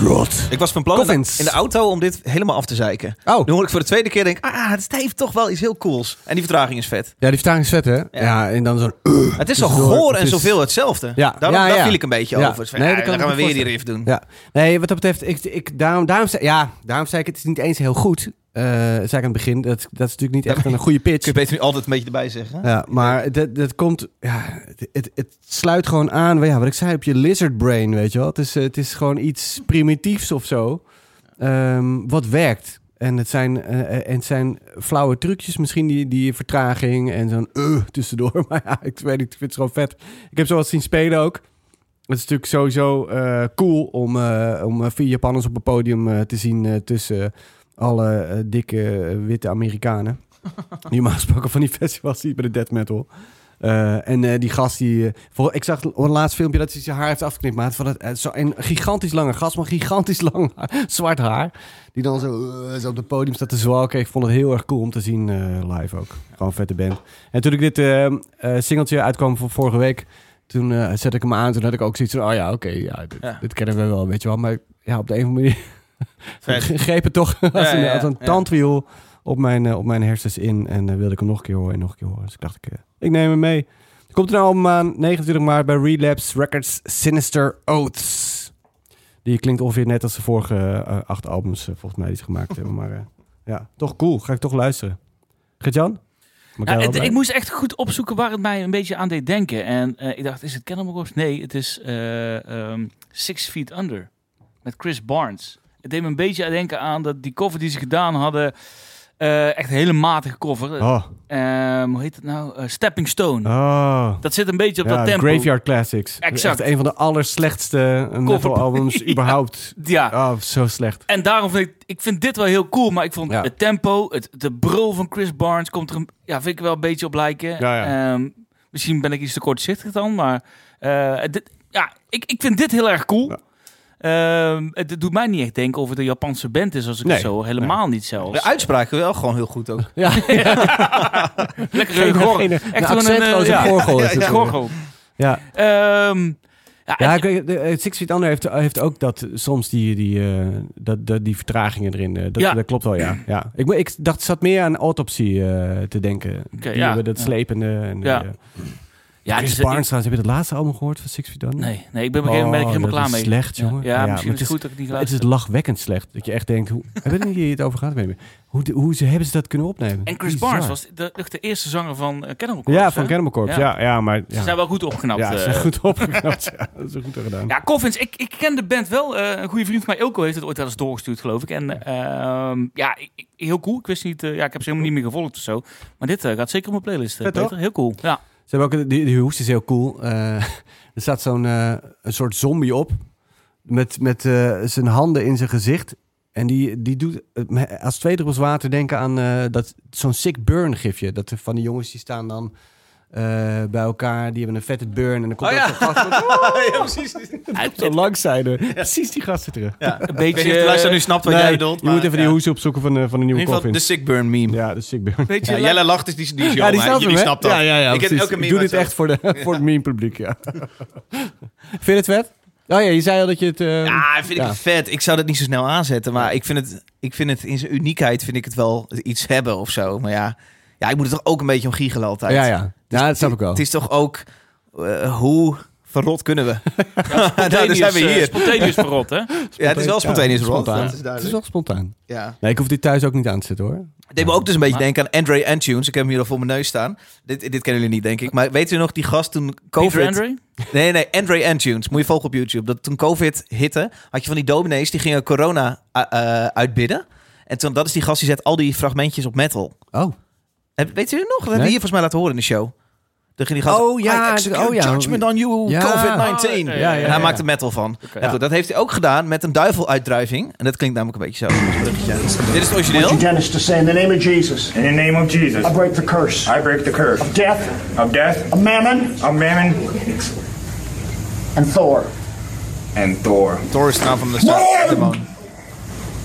Speaker 5: Rod.
Speaker 1: Ik was van plan in de,
Speaker 5: Coffins.
Speaker 1: in de auto om dit helemaal af te zeiken.
Speaker 5: Oh.
Speaker 1: Nu hoor ik voor de tweede keer denk ik, ah, het heeft toch wel iets heel cools. En die vertraging is vet.
Speaker 5: Ja, die vertaling is vet, hè? Ja, en dan zo'n...
Speaker 1: Het is zo
Speaker 5: Tussendoor,
Speaker 1: goor
Speaker 5: het
Speaker 1: en
Speaker 5: is-
Speaker 1: zoveel hetzelfde.
Speaker 5: Ja,
Speaker 1: Daar,
Speaker 5: ja,
Speaker 1: daar
Speaker 5: ja.
Speaker 1: viel ik een beetje
Speaker 5: Ja.
Speaker 1: over. Dus van,
Speaker 5: Nee,
Speaker 1: ja,
Speaker 5: dat kan
Speaker 1: dan
Speaker 5: ik
Speaker 1: gaan we
Speaker 5: me
Speaker 1: weer die
Speaker 5: voorstellen.
Speaker 1: riff doen.
Speaker 5: Ja. Nee, wat dat betreft, ik, ik, daarom, daarom, zei- ja, daarom zei ik, het is niet eens heel goed. Eh zei ik aan het begin, dat, dat is natuurlijk niet echt een goede pitch.
Speaker 1: Kun je beter nu altijd een beetje erbij zeggen.
Speaker 5: Ja, maar dat, dat komt, ja, het, het, het sluit gewoon aan, ja, wat ik zei, op je lizard brain, weet je wel. Het is, eh, het is gewoon iets primitiefs of zo, ehm, wat werkt. En het, zijn, eh, eh, en het zijn flauwe trucjes, misschien die, die vertraging en zo'n eh tussendoor. *laughs* Maar ja, ik weet niet, ik vind het gewoon vet. Ik heb ze wel eens zien spelen ook. Het is natuurlijk sowieso eh, cool om, eh, om eh, vier Japanners op een podium eh, te zien eh, tussen alle eh, dikke eh, witte Amerikanen. die *laughs* normaal gesproken van die festivals ziet bij de death metal. Eh, en eh, die gast die... eh, voor, ik zag het laatste filmpje dat hij zijn haar heeft afgeknipt. Maar het van het, eh, zo een gigantisch lange gast, maar gigantisch lang haar, *laughs* zwart haar. Die dan zo, eh, zo op het podium staat te zwalken. Ik vond het heel erg cool om te zien eh, live ook. Gewoon vette band. En toen ik dit eh, eh, singeltje uitkwam van vorige week... Toen eh, zette ik hem aan. Toen had ik ook zoiets van... Oh ja, oké. ja, dit,
Speaker 1: Ja.
Speaker 5: dit kennen we wel, weet je wel. Maar ja, op de een of andere manier
Speaker 1: Vet.
Speaker 5: greep het toch *laughs* als,
Speaker 1: Ja,
Speaker 5: een,
Speaker 1: ja,
Speaker 5: als een
Speaker 1: ja.
Speaker 5: tandwiel op mijn, eh, op mijn hersens in. En eh, wilde ik hem nog een keer horen en nog een keer horen. Dus ik dacht, ik, eh, ik neem hem mee. Er komt een album aan, 29 maart, bij Relapse Records Sinister Oaths. Die klinkt ongeveer net als de vorige eh, acht albums, eh, volgens mij, die ze gemaakt hebben. Maar eh, ja, toch cool. Ga ik toch luisteren. Gert-Jan? Mag jij
Speaker 2: Ja,
Speaker 5: wel
Speaker 2: Nou, het-
Speaker 5: bij?
Speaker 2: ik moest echt goed opzoeken waar het mij een beetje aan deed denken. En eh, ik dacht, is het Cannibal Corpse? Nee, het is eh, ehm, Six Feet Under met Chris Barnes. Het deed me een beetje denken aan dat die cover die ze gedaan hadden. eh, echt een hele matige cover.
Speaker 5: Oh,
Speaker 2: Ehm, hoe heet het nou? Eh, Stepping Stone.
Speaker 5: oh.
Speaker 2: Dat zit een beetje op
Speaker 5: Ja,
Speaker 2: dat tempo.
Speaker 5: Graveyard Classics.
Speaker 2: Exact.
Speaker 5: Echt een van de allerslechtste eh, metal albums
Speaker 2: *laughs* Ja.
Speaker 5: überhaupt.
Speaker 2: Ja.
Speaker 5: Oh, zo slecht.
Speaker 2: En daarom vind ik, ik vind dit wel heel cool, maar ik vond
Speaker 5: Ja.
Speaker 2: het tempo, het, de brul van Chris Barnes komt er, een, ja, vind ik wel een beetje op lijken.
Speaker 5: Ja, ja.
Speaker 2: Ehm, misschien ben ik iets te kortzichtig dan, maar eh, dit, ja, ik, ik vind dit heel erg cool.
Speaker 5: Ja.
Speaker 2: Ehm, het, het doet mij niet echt denken of het een Japanse band is, als ik
Speaker 5: Nee,
Speaker 2: het zo hoor. helemaal niet zelfs.
Speaker 1: De uitspraken wel gewoon heel *laughs* goed ook.
Speaker 5: *laughs* Ja.
Speaker 2: Lekker
Speaker 5: Geen-
Speaker 2: gor-
Speaker 5: geen-
Speaker 2: echt
Speaker 5: een
Speaker 2: gewoon een,
Speaker 5: accentloze
Speaker 2: eh, ja.
Speaker 5: gorgel is het.
Speaker 2: gorgel.
Speaker 5: Ja,
Speaker 2: Ehm, ja,
Speaker 5: ja
Speaker 2: en-
Speaker 5: ik, weet- de, eh, Six Feet Under heeft, heeft ook dat eh, soms die, die, eh, dat, dat, die vertragingen erin. eh, dat,
Speaker 2: Ja.
Speaker 5: dat klopt wel, ja. ja. Ik, mo- ik dacht, zat meer aan autopsie eh, te denken.
Speaker 2: Oké,
Speaker 5: die
Speaker 2: ja.
Speaker 5: hebben dat
Speaker 2: Ja.
Speaker 5: slepende. En,
Speaker 2: Ja.
Speaker 5: eh,
Speaker 2: ja,
Speaker 5: Chris
Speaker 2: dus, eh,
Speaker 5: Barnes trouwens, heb je het laatste album gehoord van Six Feet Under?
Speaker 2: Nee, nee, ik ben, ben, ik
Speaker 5: Oh,
Speaker 2: helemaal
Speaker 5: dat
Speaker 2: klaar
Speaker 5: is
Speaker 2: mee.
Speaker 5: slecht,
Speaker 2: Ja.
Speaker 5: jongen.
Speaker 2: Ja,
Speaker 5: Ja, maar
Speaker 2: misschien
Speaker 5: het
Speaker 2: is het goed
Speaker 5: is-
Speaker 2: dat ik niet
Speaker 5: Het
Speaker 2: geluisterd
Speaker 5: is lachwekkend slecht. Dat je echt denkt, hoe, hebben we hier het over gehad? Ik weet het niet meer. Hoe, de- hoe ze, hebben ze dat kunnen opnemen?
Speaker 2: En Chris
Speaker 5: Bizar.
Speaker 2: Barnes was de, de- de eerste zanger van eh, Cannibal Corpse.
Speaker 5: Ja, van
Speaker 2: hè?
Speaker 5: Cannibal Corpse. Ja.
Speaker 2: Ja.
Speaker 5: Ja, maar...
Speaker 2: Ze zijn
Speaker 5: Ja,
Speaker 2: wel goed opgeknapt.
Speaker 5: ja ze
Speaker 2: eh.
Speaker 5: zijn goed opgeknapt. *laughs* ja, dat is goed gedaan.
Speaker 2: Ja, Coffins, ik, ik ken de band wel. Eh, een goede vriend van mij, Ilko, heeft het ooit wel eens doorgestuurd, geloof ik. En ehm, ja, ik- ik- heel cool. Ik wist niet, eh, ja, ik heb ze helemaal niet meer gevolgd of zo. Maar dit eh, gaat zeker op mijn playlist. eh,
Speaker 5: Vet,
Speaker 2: Peter.
Speaker 5: toch?
Speaker 2: Heel cool. Ja.
Speaker 5: Ze hebben ook, die, die hoest is heel cool. Eh, *laughs* er staat zo'n eh, een soort zombie op. Met, met eh, zijn handen in zijn gezicht. En die, die doet eh, me- als twee druppels water denken aan eh, dat, zo'n sick burn gifje. Dat er van die jongens die staan dan eh, bij elkaar. Die hebben een vette burn. En dan komt
Speaker 1: Oh
Speaker 5: ook zo'n
Speaker 1: *laughs*
Speaker 5: gast met-
Speaker 1: ja, precies.
Speaker 5: zo langs zijn er. Precies die gasten terug.
Speaker 2: Een
Speaker 1: Ik weet
Speaker 2: beetje... eh,
Speaker 1: niet of de luisteraar nu snapt wat
Speaker 5: Nee,
Speaker 1: jij
Speaker 5: je
Speaker 1: bedoelt.
Speaker 5: moet even die hoes opzoeken van, de van een
Speaker 1: In
Speaker 5: nieuwe
Speaker 1: ieder geval
Speaker 5: coffin.
Speaker 1: de Sickburn meme.
Speaker 5: Ja, de sick burn.
Speaker 2: beetje
Speaker 1: Ja,
Speaker 2: la-
Speaker 1: Jelle lacht is die, die, is
Speaker 5: Ja, die
Speaker 1: Johan,
Speaker 5: snapt hem,
Speaker 1: Jullie
Speaker 5: hè?
Speaker 1: snapt dat.
Speaker 5: Ja, ja, ja,
Speaker 1: ik ken
Speaker 5: precies.
Speaker 1: elke meme
Speaker 5: Ik doe
Speaker 1: uit
Speaker 5: dit
Speaker 1: zo.
Speaker 5: echt voor, de,
Speaker 1: *laughs*
Speaker 5: voor het meme publiek, ja. *laughs* Vind je het vet? Oh ja, je zei al dat je het... eh,
Speaker 1: Ja, vind ik
Speaker 5: Ja.
Speaker 1: vet. Ik zou dat niet zo snel aanzetten. Maar ik vind het, ik vind het in zijn uniekheid vind ik het wel iets hebben of zo. Maar ja, ja ik moet het toch ook een beetje om giechelen altijd.
Speaker 5: Ja, ja. ja, dat snap ik wel.
Speaker 1: Het is toch ook eh, hoe verrot kunnen
Speaker 5: *laughs*
Speaker 1: we?
Speaker 2: spontaneous,
Speaker 1: *laughs* Nou, dus zijn we
Speaker 2: eh,
Speaker 1: hier.
Speaker 2: spontaneous verrot, hè?
Speaker 1: Ja, het is wel spontaneous rot.
Speaker 5: spontaan.
Speaker 1: Dat is
Speaker 5: Het
Speaker 1: duidelijk.
Speaker 5: is wel spontaan.
Speaker 1: Ja.
Speaker 5: Nee, ik hoef dit thuis ook niet aan te zetten hoor.
Speaker 1: Het deed me ook dus een beetje
Speaker 2: Maar-
Speaker 1: denken aan Andre Antunes. Ik heb hem hier al voor mijn neus staan. Dit, dit kennen jullie niet, denk ik. Maar weet u nog, die gast toen COVID...
Speaker 2: Peter Andre?
Speaker 1: Nee, nee, Andre Antunes. Moet je volgen op YouTube. Dat toen COVID hitte, had je van die dominees die gingen corona eh, eh, uitbidden. En toen, dat is die gast die zet al die fragmentjes op metal.
Speaker 5: Oh.
Speaker 1: Heb- Weet u het nog? Dat hebben we
Speaker 5: Nee.
Speaker 1: hier volgens mij laten horen in de show. Dan ging die gast...
Speaker 5: Oh, ja,
Speaker 1: I execute
Speaker 5: oh, ja.
Speaker 1: judgment on you,
Speaker 5: Ja.
Speaker 1: COVID-19.
Speaker 2: Oh, ja,
Speaker 1: en
Speaker 2: ja,
Speaker 1: hij
Speaker 2: ja, ja.
Speaker 1: maakt er metal van.
Speaker 2: Oké.
Speaker 1: En goed, dat heeft hij ook gedaan met een duiveluitdrijving. En dat klinkt namelijk een beetje zo. Dit is het origineel.
Speaker 8: your dentist to say, in the name of Jesus,
Speaker 9: In the name of Jesus,
Speaker 8: I break the curse
Speaker 9: I break the curse
Speaker 8: of death,
Speaker 9: of death,
Speaker 8: of mammon,
Speaker 9: of mammon,
Speaker 8: and Thor.
Speaker 9: and Thor.
Speaker 1: Thor is de naam van de staat. demon.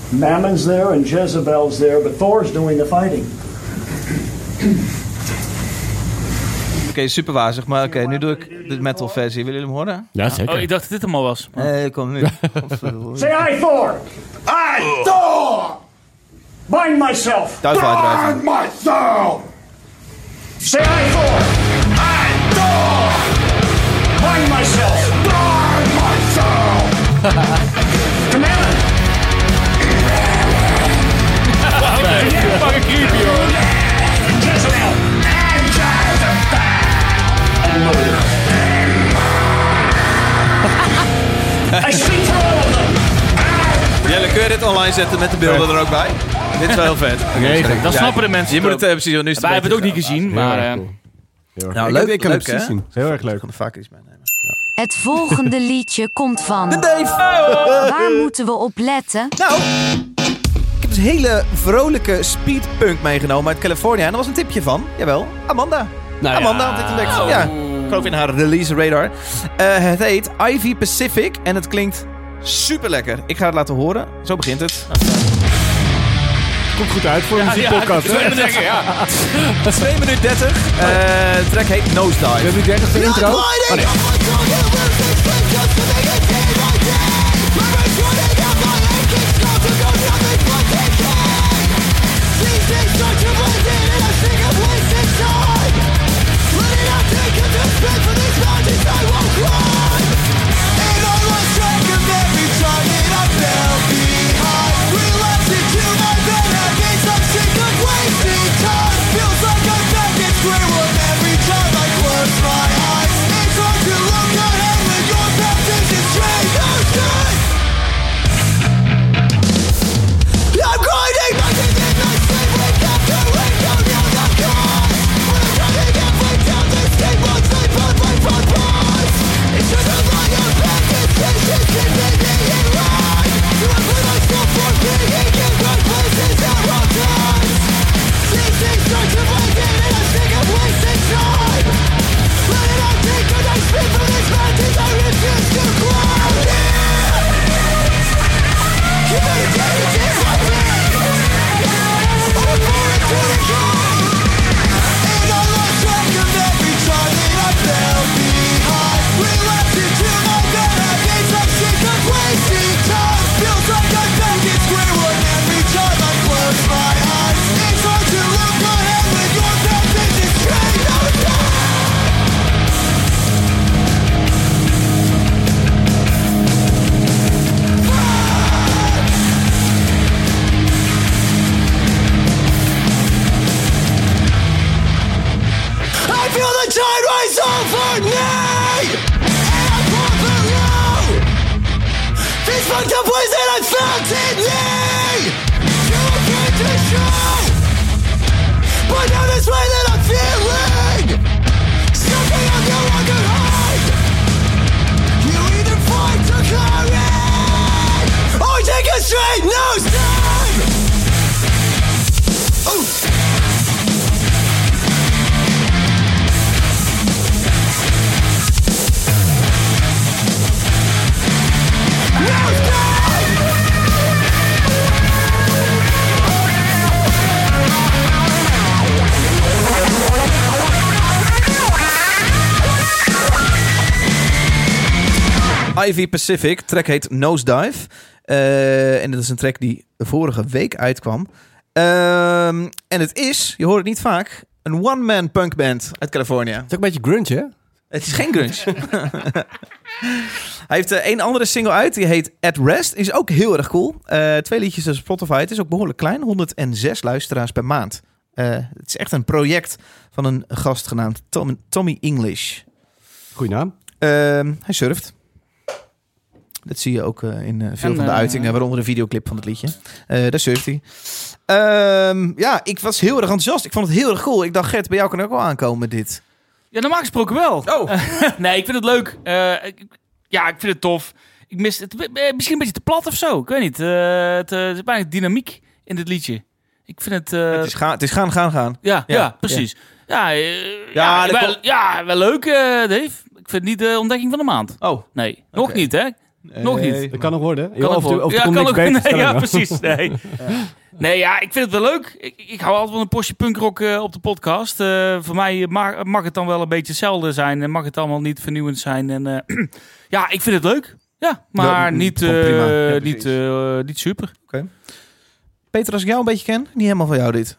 Speaker 8: Mammon's there and Jezebel's there, but Thor's doing the fighting.
Speaker 10: super wazig. Maar oké, nu doe ik de metal versie. Willen jullie hem horen?
Speaker 5: Ja, zeker.
Speaker 2: Oh, ik dacht dat dit hem al was.
Speaker 10: Nee, kom nu.
Speaker 8: Say I, Thor! I, Thor! Bind myself!
Speaker 10: Thuiswaardrijven.
Speaker 8: Say I, Thor! I, Thor! Bind myself! Bind myself! *laughs* Command!
Speaker 2: Fucking creepy, hoor.
Speaker 8: Jezebel! And Jezebel! And murder! I speak for all of them!
Speaker 10: Jelle, kun je dit online zetten met de beelden er ook bij? Dit is wel heel vet.
Speaker 5: Regen.
Speaker 2: Dat snappen de mensen.
Speaker 10: Je moet het eh, precies, want nu is
Speaker 2: Wij hebben het ook niet gezien, maar... eh,
Speaker 10: Nou,
Speaker 5: ik
Speaker 10: leuk-
Speaker 5: heb- ik kan
Speaker 10: leuk,
Speaker 5: het precies
Speaker 10: hè?
Speaker 5: zien. Heel erg leuk.
Speaker 10: Ik kan de vaak iets meenemen.
Speaker 6: Het volgende liedje komt van. Waar moeten we op letten?
Speaker 10: Nou, ik heb dus hele vrolijke speedpunk meegenomen uit California. En er was een tipje van, jawel, Amanda.
Speaker 5: Nou
Speaker 10: Amanda had dit ontdekt. Ja, ik geloof in haar release radar. Eh, het heet Ivy Pacific en het klinkt super lekker. Ik ga het laten horen. Zo begint het.
Speaker 5: Ah, Komt goed uit voor een
Speaker 10: *laughs*
Speaker 5: muziekpodcast.
Speaker 2: ik wilde zeggen, ja.
Speaker 5: *laughs*
Speaker 10: 2 minuten 30. Eh, de track heet
Speaker 5: We
Speaker 10: Nosedive.
Speaker 5: hebben nu 30 de intro. Oh, nee.
Speaker 10: Ivy Pacific, track heet Nosedive. Eh en dat is een track die vorige week uitkwam. Ehm, en het is, je hoort het niet vaak, een one-man punk band uit California.
Speaker 5: Het is ook een beetje grunge, hè?
Speaker 10: Het is geen grunge. *laughs* Hij heeft eh, één andere single uit, die heet At Rest. Is ook heel erg cool. Eh, twee liedjes op Spotify. Het is ook behoorlijk klein, 106 luisteraars per maand. Eh, het is echt een project van een gast genaamd Tom- Tommy English.
Speaker 5: Goeie naam.
Speaker 10: Ehm, hij surft. Dat zie je ook eh, in eh, veel
Speaker 2: En,
Speaker 10: van de
Speaker 2: eh,
Speaker 10: uitingen, waaronder de videoclip van het liedje. Eh, daar surft hij. Ehm, ja, ik was heel erg enthousiast. Ik vond het heel erg cool. Ik dacht, Gert, bij jou kan ook wel aankomen dit.
Speaker 2: Ja, normaal gesproken wel.
Speaker 1: *laughs*
Speaker 10: Oh.
Speaker 2: nee, ik vind het leuk. Eh, ik- ik- ja, ik vind het tof. Ik mis het. eh, Misschien een beetje te plat of zo. Ik weet niet. Eh, het, eh, er is bijna dynamiek in dit liedje. Ik vind het. eh,
Speaker 10: het, is gaan, het is gaan, gaan, gaan.
Speaker 2: ja, ja,
Speaker 10: ja,
Speaker 2: precies. Ja, eh,
Speaker 10: Ja,
Speaker 2: ja,
Speaker 10: dat
Speaker 2: wel,
Speaker 10: klopt.
Speaker 2: ja, wel leuk, eh, Dave. Ik vind het niet de ontdekking van de maand.
Speaker 10: Oh,
Speaker 2: Nee, nog
Speaker 10: Oké.
Speaker 2: niet, hè? Nog niet.
Speaker 5: Dat kan nog worden.
Speaker 2: Kan
Speaker 5: of
Speaker 2: ook
Speaker 5: er-
Speaker 2: wel.
Speaker 5: of er
Speaker 2: ja,
Speaker 5: komt
Speaker 2: kan
Speaker 5: niks
Speaker 2: ook. *laughs*
Speaker 5: beters,
Speaker 2: Nee,
Speaker 5: kan
Speaker 2: ja,
Speaker 5: ook.
Speaker 2: precies. Nee.
Speaker 1: *laughs*
Speaker 2: nee, ja, ik vind het wel leuk. Ik, ik hou altijd van een postje punkrock eh, op de podcast. Eh, voor mij mag, mag het dan wel een beetje hetzelfde zijn. En mag het allemaal niet vernieuwend zijn. En, eh, *clears throat* ja, ik vind het leuk. Ja, maar
Speaker 1: Ja,
Speaker 2: niet,
Speaker 1: gewoon
Speaker 2: eh,
Speaker 1: prima. Ja, precies.
Speaker 2: niet, eh, niet super.
Speaker 1: Peter, als ik jou een beetje ken, niet helemaal van jou dit.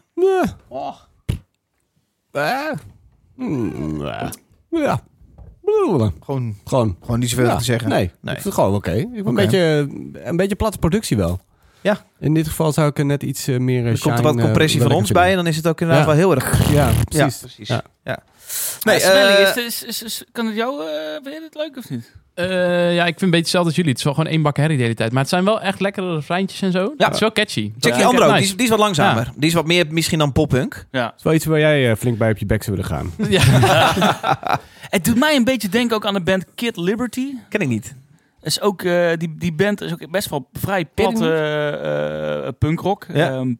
Speaker 5: Eh. Hmm, eh. Ja. Blablabla.
Speaker 1: Gewoon,
Speaker 5: Gewoon.
Speaker 1: gewoon niet zoveel
Speaker 5: Ja,
Speaker 1: te zeggen.
Speaker 5: Nee,
Speaker 1: Nee.
Speaker 5: ik vind het gewoon oké. Ik heb
Speaker 1: Oké.
Speaker 5: Een, beetje, een beetje platte productie wel.
Speaker 1: Ja.
Speaker 5: In dit geval zou ik er net iets eh, meer eh,
Speaker 1: Er komt er
Speaker 5: shine,
Speaker 1: wat
Speaker 5: eh,
Speaker 1: compressie
Speaker 5: wil
Speaker 1: van
Speaker 5: ik
Speaker 1: ons
Speaker 5: vinden.
Speaker 1: bij en dan is het ook inderdaad
Speaker 5: Ja.
Speaker 1: wel heel erg.
Speaker 5: Ja, precies.
Speaker 1: Ja, precies.
Speaker 5: Ja.
Speaker 1: Ja.
Speaker 2: Nee,
Speaker 1: Nee, eh,
Speaker 2: is, is, is, is- kan het jou... eh vind je het leuk of niet?
Speaker 7: Eh, ja, ik vind het een beetje hetzelfde als jullie. Het is wel gewoon één bak herrie de hele tijd. Maar het zijn wel echt lekkere refreintjes en zo.
Speaker 1: Ja.
Speaker 7: Het is wel catchy. Dat
Speaker 1: check
Speaker 7: vind
Speaker 1: die
Speaker 7: ik
Speaker 1: andere ook.
Speaker 7: echt
Speaker 1: Die, is, die is wat langzamer. Die is wat meer misschien dan poppunk.
Speaker 2: Ja.
Speaker 5: Het is wel iets waar jij eh, flink bij op je bek zou willen gaan.
Speaker 7: nice. Ja.
Speaker 2: Het doet mij een beetje denken ook aan de band Kid Liberty.
Speaker 1: Ken ik niet.
Speaker 2: Is ook, eh, die, die band is ook best wel vrij platte eh, eh, punkrock.
Speaker 1: Ja.
Speaker 2: Ehm,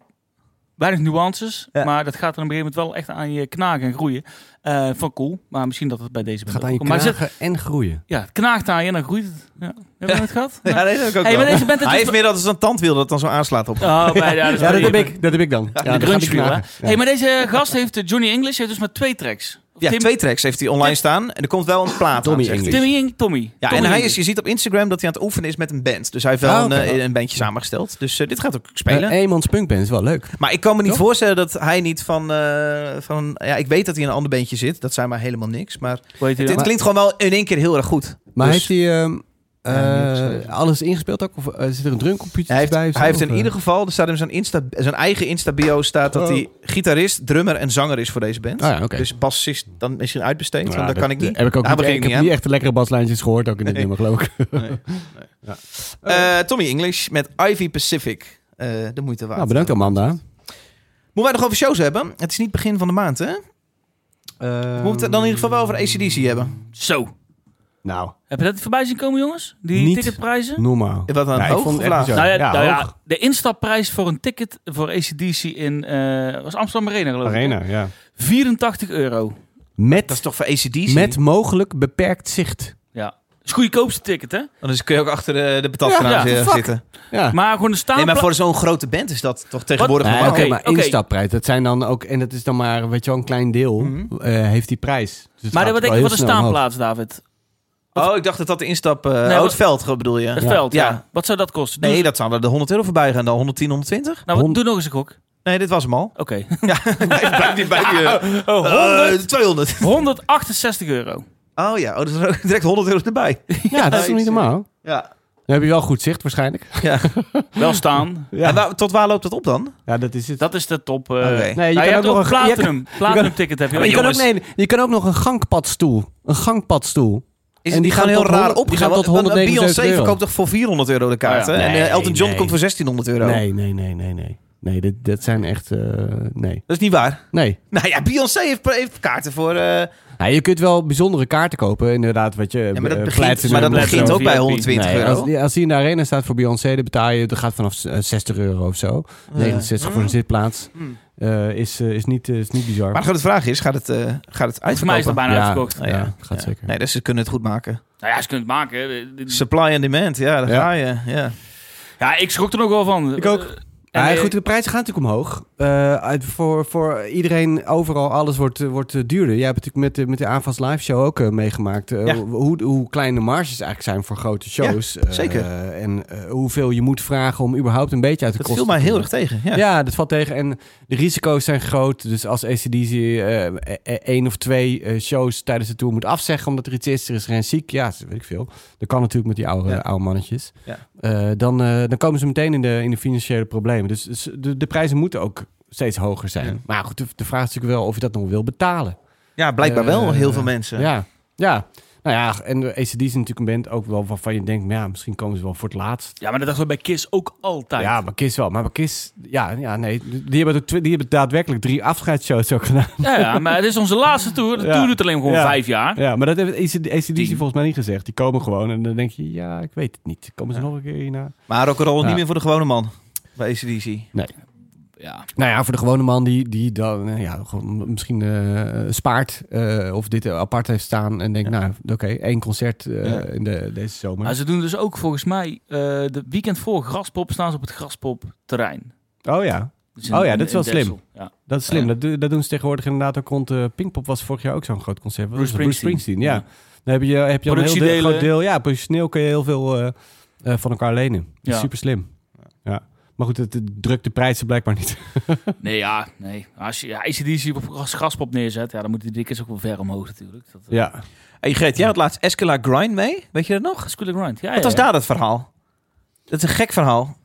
Speaker 2: weinig nuances,
Speaker 1: Ja.
Speaker 2: maar dat gaat er op een gegeven moment wel echt aan je knagen en groeien. Eh, van cool, maar misschien dat het bij deze band
Speaker 5: Gaat aan je
Speaker 2: ook komt. Maar
Speaker 5: knagen en groeien.
Speaker 2: zit- ja, het knaagt aan je en dan groeit het. Ja. Heb je dat gehad?
Speaker 1: Ja, nee, dat heb ik *laughs* ook
Speaker 2: Hey, maar
Speaker 1: wel.
Speaker 2: *laughs* deze band het
Speaker 1: Hij
Speaker 2: is
Speaker 1: heeft meer dat het een tandwiel dat dan zo aanslaat op.
Speaker 2: Oh, bij, ja, dat, is
Speaker 5: Ja,
Speaker 2: bij
Speaker 5: dat heb
Speaker 2: die-
Speaker 5: ik, dat heb ik dan.
Speaker 2: De
Speaker 5: Ja, dan gaat die
Speaker 2: grunge hè?
Speaker 5: knagen. Ja.
Speaker 2: Hey, maar deze gast heeft, eh, Johnny English, heeft dus maar twee tracks. Of
Speaker 1: Ja,
Speaker 2: Tim-
Speaker 1: twee tracks heeft hij online staan. En er komt wel een plaat
Speaker 5: Tommy
Speaker 1: aan, zegt hij.
Speaker 5: English.
Speaker 2: Timmy en Tommy.
Speaker 1: Ja,
Speaker 2: Tommy
Speaker 1: en hij is,
Speaker 2: English.
Speaker 1: je ziet op Instagram dat hij aan het oefenen is met een band. Dus hij heeft wel
Speaker 5: Ah,
Speaker 1: een,
Speaker 5: oké.
Speaker 1: eh, een bandje samengesteld. Dus eh, dit gaat ook
Speaker 5: Een
Speaker 1: spelen.
Speaker 5: eenmans punkband is wel leuk.
Speaker 1: maar ik kan me niet
Speaker 5: Toch?
Speaker 1: voorstellen dat hij niet van, eh, van... Ja, ik weet dat hij in een ander bandje zit. Dat zijn maar helemaal niks. Maar
Speaker 2: Hoe heet hij
Speaker 1: dit
Speaker 2: dan?
Speaker 1: klinkt gewoon wel in één keer heel erg goed.
Speaker 5: Maar
Speaker 1: Dus-
Speaker 5: heeft hij ehm,
Speaker 1: Ja, niks,
Speaker 5: eh,
Speaker 1: eh.
Speaker 5: alles ingespeeld ook? Of eh, zit er een drumcomputer
Speaker 1: Hij heeft,
Speaker 5: bij?
Speaker 1: hij heeft in ieder geval, er staat in zijn, Insta, zijn eigen Insta-bio staat dat
Speaker 5: Oh.
Speaker 1: hij gitarist, drummer en zanger is voor deze band.
Speaker 5: Ah ja, oké.
Speaker 1: Dus bassist dan misschien uitbesteed, want dat, kan ik niet.
Speaker 5: Nou, Heb ik ook
Speaker 1: Daar
Speaker 5: niet,
Speaker 1: begin
Speaker 5: ik
Speaker 1: ik niet
Speaker 5: heb
Speaker 1: aan.
Speaker 5: niet echt de lekkere baslijntjes gehoord, ook in dit
Speaker 1: Nee.
Speaker 5: nummer
Speaker 1: *laughs*
Speaker 5: geloof ik. Oh.
Speaker 1: Eh, Tommy English met Ivy Pacific. Eh, de moeite waard.
Speaker 5: Nou, bedankt Amanda.
Speaker 1: Moeten wij nog over shows hebben? Het is niet begin van de maand, hè?
Speaker 5: Eh,
Speaker 1: Moeten we het dan in ieder geval wel over ACDC hebben?
Speaker 2: Zo.
Speaker 5: Nou,
Speaker 2: Heb je dat voorbij zien komen, jongens? Die
Speaker 5: Niet.
Speaker 2: ticketprijzen?
Speaker 5: normaal.
Speaker 1: Wat dan?
Speaker 5: Ja, ik
Speaker 1: hoog
Speaker 5: vond
Speaker 1: of
Speaker 5: het
Speaker 1: laag?
Speaker 5: echt bizar.
Speaker 2: Nou ja,
Speaker 5: Ja,
Speaker 2: nou ja,
Speaker 5: hoog.
Speaker 2: de instapprijs voor een ticket voor ACDC in eh, was Amsterdam Arena, geloof ik.
Speaker 5: Arena, ja.
Speaker 2: 84 euro.
Speaker 5: Met,
Speaker 1: Dat is toch voor ACDC?
Speaker 5: met mogelijk beperkt zicht.
Speaker 2: Ja. Dat is het goedkoopste ticket, hè?
Speaker 1: Dan is- kun je ook achter de, de patatkraan
Speaker 2: Ja, ja,
Speaker 1: zitten-
Speaker 2: fuck.
Speaker 1: zitten.
Speaker 5: Ja.
Speaker 2: Maar gewoon de
Speaker 1: Nee, maar
Speaker 2: staanplaats...
Speaker 1: voor zo'n grote band is dat toch tegenwoordig
Speaker 5: Nee,
Speaker 1: normaal.
Speaker 5: oké,
Speaker 2: oké,
Speaker 5: maar
Speaker 2: oké.
Speaker 5: instapprijs. Dat zijn dan ook, en dat is dan maar, weet je wel, een klein deel
Speaker 1: Mhm.
Speaker 5: eh, heeft die prijs. Dus het
Speaker 2: maar wat
Speaker 5: gaat wel
Speaker 2: denk je
Speaker 5: heel
Speaker 2: van de
Speaker 5: snel omhoog.
Speaker 2: staanplaats, David?
Speaker 1: Oh, ik dacht dat dat de instap... eh
Speaker 2: Nee,
Speaker 1: oh,
Speaker 2: wat-
Speaker 1: het veld bedoel je?
Speaker 2: Het
Speaker 5: Ja.
Speaker 2: veld, ja.
Speaker 1: Ja.
Speaker 2: Wat zou dat kosten? Doe
Speaker 1: Nee,
Speaker 2: eens-
Speaker 1: dat zou er de 100 euro voorbij gaan dan. 110, 120?
Speaker 2: nou, wat-
Speaker 5: Hond-
Speaker 2: doe nog eens een gok.
Speaker 1: Nee, dit was hem al. *laughs* Ah,
Speaker 2: Oké.
Speaker 1: Blijf die bij eh, je.
Speaker 2: Oh, 100
Speaker 1: 200.
Speaker 2: 168 euro.
Speaker 1: Oh ja, oh, dat is er ook *laughs* direct 100 euro erbij.
Speaker 5: Ja, dat is toch niet normaal?
Speaker 1: Ja.
Speaker 5: Dan heb je wel goed zicht waarschijnlijk.
Speaker 2: Wel staan.
Speaker 5: Ja,
Speaker 1: En waar- tot waar loopt dat op dan?
Speaker 5: ja dat is het.
Speaker 2: Dat is de top. eh.
Speaker 1: Oké.
Speaker 5: nee,
Speaker 2: Nou, je, hebt ook
Speaker 5: ge- je
Speaker 2: platinum. platinum ticket heb je,
Speaker 5: kan-
Speaker 2: ook,
Speaker 5: je, kan ook,
Speaker 2: jongens.
Speaker 5: nee, je kan ook nog een gangpadstoel. Een gangpadstoel.
Speaker 1: Is
Speaker 5: En
Speaker 1: en die,
Speaker 5: die
Speaker 1: gaan
Speaker 5: gaan
Speaker 1: heel
Speaker 5: tot
Speaker 1: raar
Speaker 5: honderd-
Speaker 1: op.
Speaker 5: die gaan tot €179
Speaker 1: Beyoncé
Speaker 5: euro.
Speaker 1: verkoopt toch voor 400 euro de kaart,
Speaker 2: Oh ja.
Speaker 1: hè? En
Speaker 5: Nee,
Speaker 1: eh, Elton John
Speaker 5: nee.
Speaker 1: komt voor 1600 euro.
Speaker 5: Nee, nee, nee, nee, nee. Nee, dit, dat zijn echt... eh, nee.
Speaker 1: Dat is niet waar. *laughs*
Speaker 5: Nee.
Speaker 1: Nou ja, Beyoncé heeft, heeft kaarten voor... eh,
Speaker 5: Ja, je kunt wel bijzondere kaarten kopen, inderdaad. Wat je,
Speaker 1: ja, maar dat
Speaker 5: eh,
Speaker 1: begint,
Speaker 5: platinum
Speaker 1: maar dat
Speaker 5: of zo.
Speaker 1: begint ook bij
Speaker 2: VIP.
Speaker 1: 120
Speaker 5: Nee,
Speaker 1: euro.
Speaker 5: Als, als die in de arena staat voor Beyoncé, dan betaal je, dat gaat vanaf eh, 60 euro of zo. 69 voor een zitplaats. Eh, is, eh, is, niet, eh, is niet bizar.
Speaker 1: Mm. Maar de grote vraag is, gaat het, eh gaat het
Speaker 2: Voor mij is dat
Speaker 1: uitverkopen?
Speaker 2: bijna
Speaker 5: ja,
Speaker 2: uitverkocht.
Speaker 5: Ja,
Speaker 1: Oh, ja.
Speaker 5: gaat zeker.
Speaker 1: Nee, dus ze kunnen het goed maken.
Speaker 2: Nou ja, ze kunnen het maken. hè. Dit- dit-
Speaker 1: Supply and demand, ja, daar
Speaker 5: Ja.
Speaker 1: ga je. Ja.
Speaker 2: Ja, ik schrok er nog wel van.
Speaker 5: Ik ook.
Speaker 2: Eh,
Speaker 5: Ja,
Speaker 2: en, eh,
Speaker 5: goed, de prijzen gaan natuurlijk omhoog. Eh, uit, voor, voor iedereen, overal, alles wordt, eh, wordt eh, duurder. Jij hebt natuurlijk met, de- met de Avans Live Show ook eh, meegemaakt. eh,
Speaker 1: Ja.
Speaker 5: hoe- hoe, hoe klein de marges eigenlijk zijn voor grote shows. Eh,
Speaker 1: zeker.
Speaker 5: en eh, hoeveel je moet vragen om überhaupt een beetje uit de
Speaker 1: Dat
Speaker 5: kosten
Speaker 1: viel mij
Speaker 5: te
Speaker 1: heel
Speaker 5: komen.
Speaker 1: erg tegen. Ja.
Speaker 5: Ja, dat valt tegen. En de risico's zijn groot. Dus als ACDC eh, eh, één of twee eh, shows tijdens de tour moet afzeggen... omdat er iets is, er is geen ziek. Ja, dat weet ik veel. Dat kan natuurlijk met die oude,
Speaker 1: Ja.
Speaker 5: oude mannetjes.
Speaker 1: Ja.
Speaker 5: Eh, dan, eh, dan komen ze meteen in de, in de financiële problemen. Dus, dus de, de prijzen moeten ook steeds hoger zijn.
Speaker 1: Ja.
Speaker 5: Maar goed, de, de vraag is natuurlijk wel of je dat nog wil betalen.
Speaker 1: Ja, blijkbaar wel
Speaker 5: Eh,
Speaker 1: heel veel mensen.
Speaker 5: Ja, ja. Nou ja, en de ACDC is natuurlijk een band ook wel waarvan je denkt... ja, misschien komen ze wel voor het laatst.
Speaker 2: Ja, maar dat dachten we bij Kiss ook altijd.
Speaker 5: Ja, maar Kiss wel. Maar bij Kiss, ja, ja nee. Die hebben, ook tw- die hebben daadwerkelijk drie afscheidsshows ook gedaan.
Speaker 2: Ja, ja, maar het is onze laatste tour. De
Speaker 5: Ja.
Speaker 2: tour doet alleen gewoon
Speaker 5: Ja.
Speaker 2: vijf jaar.
Speaker 5: Ja, maar dat heeft ACD ACDC
Speaker 2: Tien.
Speaker 5: volgens mij niet gezegd. Die komen gewoon en dan denk je, ja, ik weet het niet. Komen ze nog een keer hierna?
Speaker 1: Maar rock'n'roll
Speaker 5: Ja.
Speaker 1: niet meer voor de gewone man bij ACDC.
Speaker 5: Nee.
Speaker 2: Ja, ja.
Speaker 5: Nou ja, voor de gewone man die, die dan eh, ja, gewoon misschien eh, spaart eh, of dit apart heeft staan en denkt, nou oké, één concert eh,
Speaker 2: Ja.
Speaker 5: in de, deze zomer.
Speaker 2: Maar ze doen dus ook volgens mij eh de weekend voor Graspop staan ze op het Graspop-terrein.
Speaker 5: Oh ja.
Speaker 2: Dus in-
Speaker 5: oh ja,
Speaker 2: in-
Speaker 5: dat is
Speaker 2: in
Speaker 5: wel slim.
Speaker 2: Texel, ja.
Speaker 5: Dat is slim. Dat, do- dat doen ze tegenwoordig inderdaad ook rond eh Pinkpop was vorig jaar ook zo'n groot concert. Wat
Speaker 2: Bruce
Speaker 5: was het?
Speaker 2: Springsteen.
Speaker 5: ja. Dan heb je, heb je al een heel deel,
Speaker 2: Productiedelen.
Speaker 5: groot deel. Ja, personeel kun je heel veel eh, eh, van elkaar lenen.
Speaker 2: Ja.
Speaker 5: Super slim. Ja. Maar goed, het, het drukt de prijzen blijkbaar niet.
Speaker 2: Nee, ja, nee. Als je ja, ACDC op gras- Graspop neerzet, ja, dan moeten die dikkers ook wel ver omhoog natuurlijk. Dat, eh,
Speaker 5: ja.
Speaker 1: Hey Greet, jij had laatst Escala Grind mee. Weet je dat nog?
Speaker 2: School of Grind, ja.
Speaker 1: Wat
Speaker 2: ja,
Speaker 1: was
Speaker 2: ja.
Speaker 1: daar dat verhaal? Dat is een gek verhaal.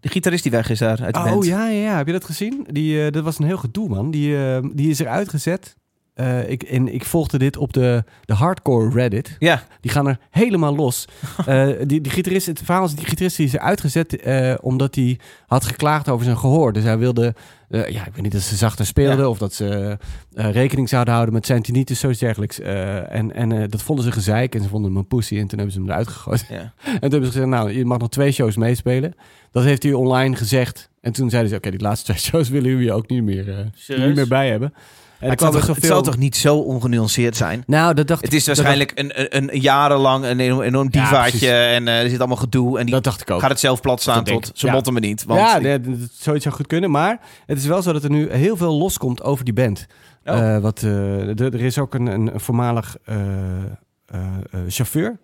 Speaker 1: De gitarist die weg is daar uit de
Speaker 5: Oh
Speaker 1: band.
Speaker 5: ja, ja, ja. heb je dat gezien? Die, eh, dat was een heel gedoe, man. Die, eh, die is eruit gezet. Eh, ik, en ik volgde dit op de, de hardcore Reddit.
Speaker 1: Ja.
Speaker 5: Die gaan er helemaal
Speaker 2: *laughs*
Speaker 5: los. Eh, die, die gitarist, het verhaal is, die gitarist die is eruit gezet eh, omdat hij had geklaagd over zijn gehoor. Dus hij wilde, eh, ja, ik weet niet, dat ze zachter speelden of dat ze eh, rekening zouden houden met zijn tinnitus, zoiets dergelijks. Eh, en en eh, dat vonden ze gezeik en ze vonden hem een pussy en toen hebben ze hem eruit gegooid.
Speaker 1: Ja.
Speaker 5: *laughs* En toen hebben ze gezegd, nou, je mag nog twee shows meespelen. Dat heeft hij online gezegd. En toen zeiden ze, oké, die laatste twee *laughs* shows willen jullie ook niet meer, eh,
Speaker 2: Serieus?
Speaker 5: niet meer bij hebben. En
Speaker 1: Maar
Speaker 5: er
Speaker 1: het, zal
Speaker 5: kwam
Speaker 1: toch,
Speaker 5: er
Speaker 1: het
Speaker 5: zoveel-
Speaker 1: zal toch niet zo ongenuanceerd zijn?
Speaker 5: Nou, dat dacht
Speaker 1: Het is waarschijnlijk een, een, een jarenlang een enorm, enorm
Speaker 5: Ja,
Speaker 1: divaatje en eh, er zit allemaal gedoe. En die
Speaker 5: Dat dacht ik ook.
Speaker 1: gaat het zelf plat staan
Speaker 5: Dat denk
Speaker 1: tot
Speaker 5: ik.
Speaker 1: ze
Speaker 5: Ja.
Speaker 1: motten me niet. Want
Speaker 5: ja, nee, dat- dat- zoiets zou goed kunnen. Maar het is wel zo dat er nu heel veel loskomt over die band.
Speaker 1: Oh.
Speaker 5: Eh, wat, eh, d- er is ook een, een voormalig eh, eh, eh, chauffeur.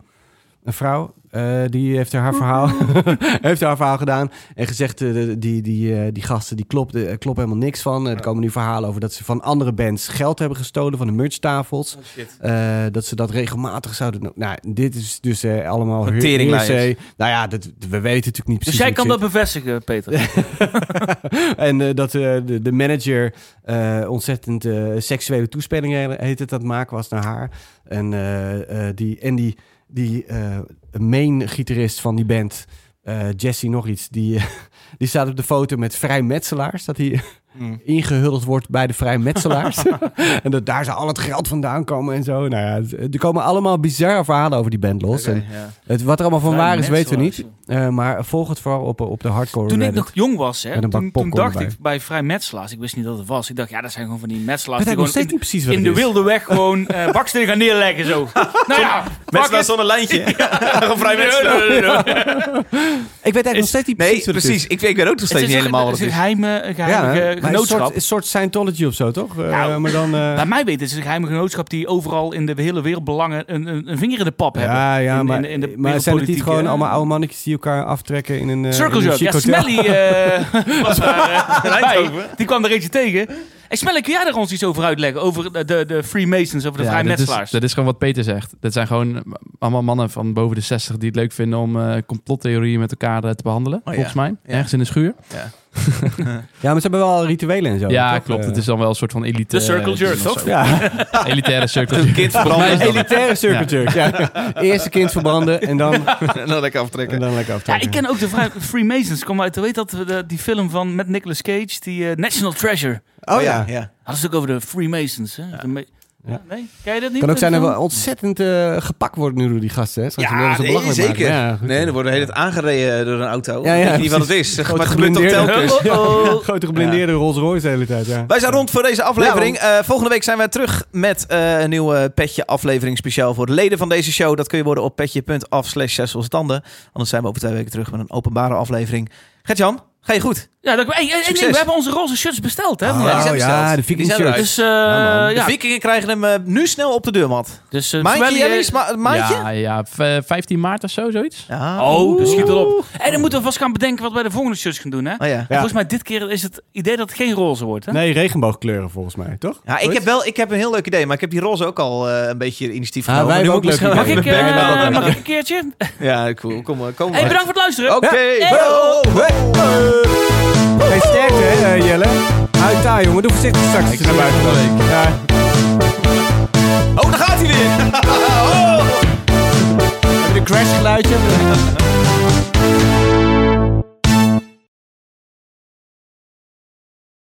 Speaker 5: Een vrouw, eh, die heeft haar verhaal,
Speaker 2: *laughs*
Speaker 5: *laughs* heeft haar verhaal gedaan. En gezegd, eh, de- die, die, eh, die gasten, die klopt, eh, klopt helemaal niks van.
Speaker 2: Oh.
Speaker 5: Eh, Er komen nu verhalen over dat ze van andere bands geld hebben gestolen van de merchtafels.
Speaker 2: Oh,
Speaker 5: Eh, dat ze dat regelmatig zouden... doen. Nou, dit is dus eh, allemaal...
Speaker 1: Wat
Speaker 5: heer-
Speaker 1: teringlijers.
Speaker 5: hearsay. Nou ja, dat, we weten natuurlijk niet precies
Speaker 2: Dus jij
Speaker 5: hoe het
Speaker 2: kan
Speaker 5: zit.
Speaker 2: dat bevestigen, Peter.
Speaker 5: *laughs* En eh, dat eh, de, de manager eh, ontzettend eh, seksuele toespelingen heet het, dat maken was naar haar. En eh, eh, die, en die, die eh, main gitarist van die band, eh, Jesse nog iets, die, eh, *laughs* die staat op de foto met vrijmetselaars. Dat hij
Speaker 2: Hmm.
Speaker 5: *laughs* ingehuldigd wordt bij de
Speaker 2: *laughs*
Speaker 5: vrijmetselaars. *laughs* en dat daar zou al het geld vandaan komen en zo. Nou ja, het- er komen allemaal bizarre verhalen over die band los.
Speaker 1: Oké,
Speaker 5: en
Speaker 1: ja.
Speaker 5: het, wat er allemaal van waar is, weten we niet.
Speaker 2: Vrijmetselaars,
Speaker 5: Eh, maar volg het vooral op, op de hardcore
Speaker 2: Toen ik
Speaker 5: Reddit.
Speaker 2: nog jong was,
Speaker 5: Met
Speaker 2: hè,
Speaker 5: een bak
Speaker 2: toen, toen
Speaker 5: popcorn
Speaker 2: dacht
Speaker 5: bij.
Speaker 2: ik bij vrijmetselaars, ik wist niet dat het was. Ik dacht, ja, dat zijn gewoon van die metselaars
Speaker 5: Ik weet
Speaker 2: die
Speaker 5: eigenlijk nog
Speaker 2: gewoon
Speaker 5: steeds
Speaker 2: in,
Speaker 5: niet precies wat
Speaker 2: in
Speaker 5: het
Speaker 2: de
Speaker 5: is.
Speaker 2: wilde weg gewoon
Speaker 5: *laughs*
Speaker 2: eh bakstenen gaan neerleggen zo. nou ja, fuck
Speaker 1: Mensen
Speaker 2: it.
Speaker 1: zonder lijntje. Gewoon vrij mensen.
Speaker 2: Nee, nee, nee, nee.
Speaker 5: Ik weet eigenlijk nog steeds
Speaker 1: *laughs*
Speaker 5: niet precies
Speaker 1: Nee,
Speaker 5: wat het is.
Speaker 1: precies. Ik, ik weet ook nog steeds
Speaker 2: Het
Speaker 1: niet
Speaker 2: is een-
Speaker 1: helemaal wat
Speaker 2: het
Speaker 1: het
Speaker 2: is.
Speaker 1: is.
Speaker 2: Een geheime, een geheime
Speaker 5: hè?
Speaker 2: ge-
Speaker 5: Maar een soort,
Speaker 2: genootschap.
Speaker 5: een soort Scientology of zo, toch? Eh,
Speaker 2: Nou,
Speaker 5: maar dan... eh,
Speaker 2: Bij mij weet het, het is een geheime genootschap die overal in de hele wereld belangen een, een, een vinger in de pap hebben.
Speaker 5: ja, ja,
Speaker 2: in,
Speaker 5: maar,
Speaker 2: in- in de
Speaker 5: maar zijn het niet
Speaker 2: wereldpolitiek,
Speaker 5: gewoon
Speaker 2: eh,
Speaker 5: allemaal oude mannetjes die elkaar aftrekken in een... eh,
Speaker 2: Circle
Speaker 5: in een
Speaker 2: Jerk,
Speaker 5: chic
Speaker 2: ja,
Speaker 5: hotel?
Speaker 2: Smelly
Speaker 5: *laughs*
Speaker 2: eh, was daar, eh, bij. Die kwam er eentje tegen. En Smelly, kun jij daar ons iets over uitleggen? Over de, de, de Freemasons, over de
Speaker 7: Ja, dat, is,
Speaker 2: vrijmetselaars?
Speaker 7: dat is gewoon wat Peter zegt. Dat zijn gewoon allemaal mannen van boven de 60 die het leuk vinden om eh, complottheorieën met elkaar eh, te behandelen.
Speaker 1: Oh, ja.
Speaker 7: volgens mij. Ergens in de schuur.
Speaker 5: Ja, maar ze hebben wel rituelen en zo.
Speaker 7: ja,
Speaker 5: toch?
Speaker 7: klopt.
Speaker 5: Eh,
Speaker 7: Het is dan wel een soort van elite.
Speaker 2: De circle
Speaker 7: eh,
Speaker 2: jerk,
Speaker 7: ding of
Speaker 2: toch?
Speaker 5: *laughs*
Speaker 7: zo.
Speaker 5: Ja,
Speaker 7: Elitaire circle
Speaker 1: Een
Speaker 7: jerk.
Speaker 1: kind verbranden
Speaker 5: een
Speaker 1: en dan-
Speaker 5: elitaire circle *laughs* jerk. Ja. Eerste kind verbranden en dan,
Speaker 1: en *laughs* dan lekker
Speaker 5: en
Speaker 1: aftrekken.
Speaker 5: dan lekker
Speaker 2: Ja,
Speaker 5: aftrekken.
Speaker 2: ik ken ook de vrij- Freemasons. Kom uit, weet dat, de- die film van met Nicolas Cage, die eh, National Treasure.
Speaker 5: Oh ja.
Speaker 1: ja.
Speaker 2: Hadden ze het ook over de Freemasons. Hè? De me-
Speaker 5: Ja.
Speaker 2: Nee, ken je dat niet?
Speaker 5: kan ook zijn dat
Speaker 2: Film?
Speaker 5: we ontzettend eh, gepakt worden nu door die gasten, hè? Straks
Speaker 1: Ja,
Speaker 5: willen ze
Speaker 1: nee,
Speaker 5: belachelijk maken.
Speaker 1: zeker.
Speaker 5: Ja, goed.
Speaker 1: Nee, dan worden de hele tijd aangereden door een auto.
Speaker 5: Ja, ja,
Speaker 1: Weet je niet wat het
Speaker 5: precies.
Speaker 1: is. Maar
Speaker 5: Grote
Speaker 1: het gebeurt toch
Speaker 5: geblindeerde.
Speaker 1: telkens.
Speaker 5: *laughs*
Speaker 2: Oh,
Speaker 5: Grote geblindeerde Rolls Royce de hele tijd, ja.
Speaker 1: Wij zijn rond voor deze aflevering. Eh, volgende week zijn wij terug met eh, een nieuwe Petje aflevering speciaal voor de leden van deze show. Dat kun je worden op petje.af slash zes Losse tanden. Anders zijn we over twee weken terug met een openbare aflevering. Gert-Jan, ga je goed?
Speaker 2: Ja, dat, hey, hey, hey,
Speaker 1: Succes.
Speaker 2: nee, we hebben onze roze shirts besteld, hè?
Speaker 5: Oh,
Speaker 1: die
Speaker 2: vandaag.
Speaker 1: zijn besteld.
Speaker 5: ja, de
Speaker 1: Die
Speaker 5: Viking
Speaker 1: zijn eruit.
Speaker 5: shirt.
Speaker 2: Dus, eh,
Speaker 5: Ja, man.
Speaker 1: Ah, De
Speaker 2: ja,
Speaker 1: Vikingen krijgen hem eh, nu snel op de deurmat.
Speaker 2: dus eh,
Speaker 1: Maandje,
Speaker 2: terwijl je-
Speaker 1: Jellies? Ma- maandje?
Speaker 7: Ja, ja, v- 15 maart of zo, zoiets.
Speaker 1: Ja.
Speaker 2: Oh, dus
Speaker 1: Oeh.
Speaker 2: schiet erop. En dan moeten we vast gaan bedenken wat wij de volgende shirts gaan doen, hè?
Speaker 1: Oh, ja.
Speaker 5: Ja.
Speaker 2: Volgens mij dit keer is het idee dat het geen roze wordt, hè?
Speaker 5: Nee, regenboogkleuren volgens mij, toch?
Speaker 1: Ja, ik heb wel ik heb een heel leuk idee, maar ik heb die roze ook al eh, een beetje initiatief genomen.
Speaker 5: Ah, wij hebben
Speaker 1: Nu
Speaker 5: ook
Speaker 1: moet ik
Speaker 5: leuke
Speaker 2: Mag
Speaker 1: misschien-
Speaker 2: ik,
Speaker 5: Oké.
Speaker 2: eh,
Speaker 1: Bang it up.
Speaker 2: mag ik een keertje?
Speaker 1: Ja, cool. Kom maar. Kom maar.
Speaker 2: Hey, bedankt voor het luisteren.
Speaker 1: Oké.
Speaker 2: Hey.
Speaker 1: Ho, ho.
Speaker 5: Geen sterkte, Oh, hè, eh, Jelle? Hou daar, jongen. Doe voorzichtig straks. Ik naar buiten. Ja.
Speaker 1: Oh, daar gaat hij weer.
Speaker 5: Heb je de crashgeluidje?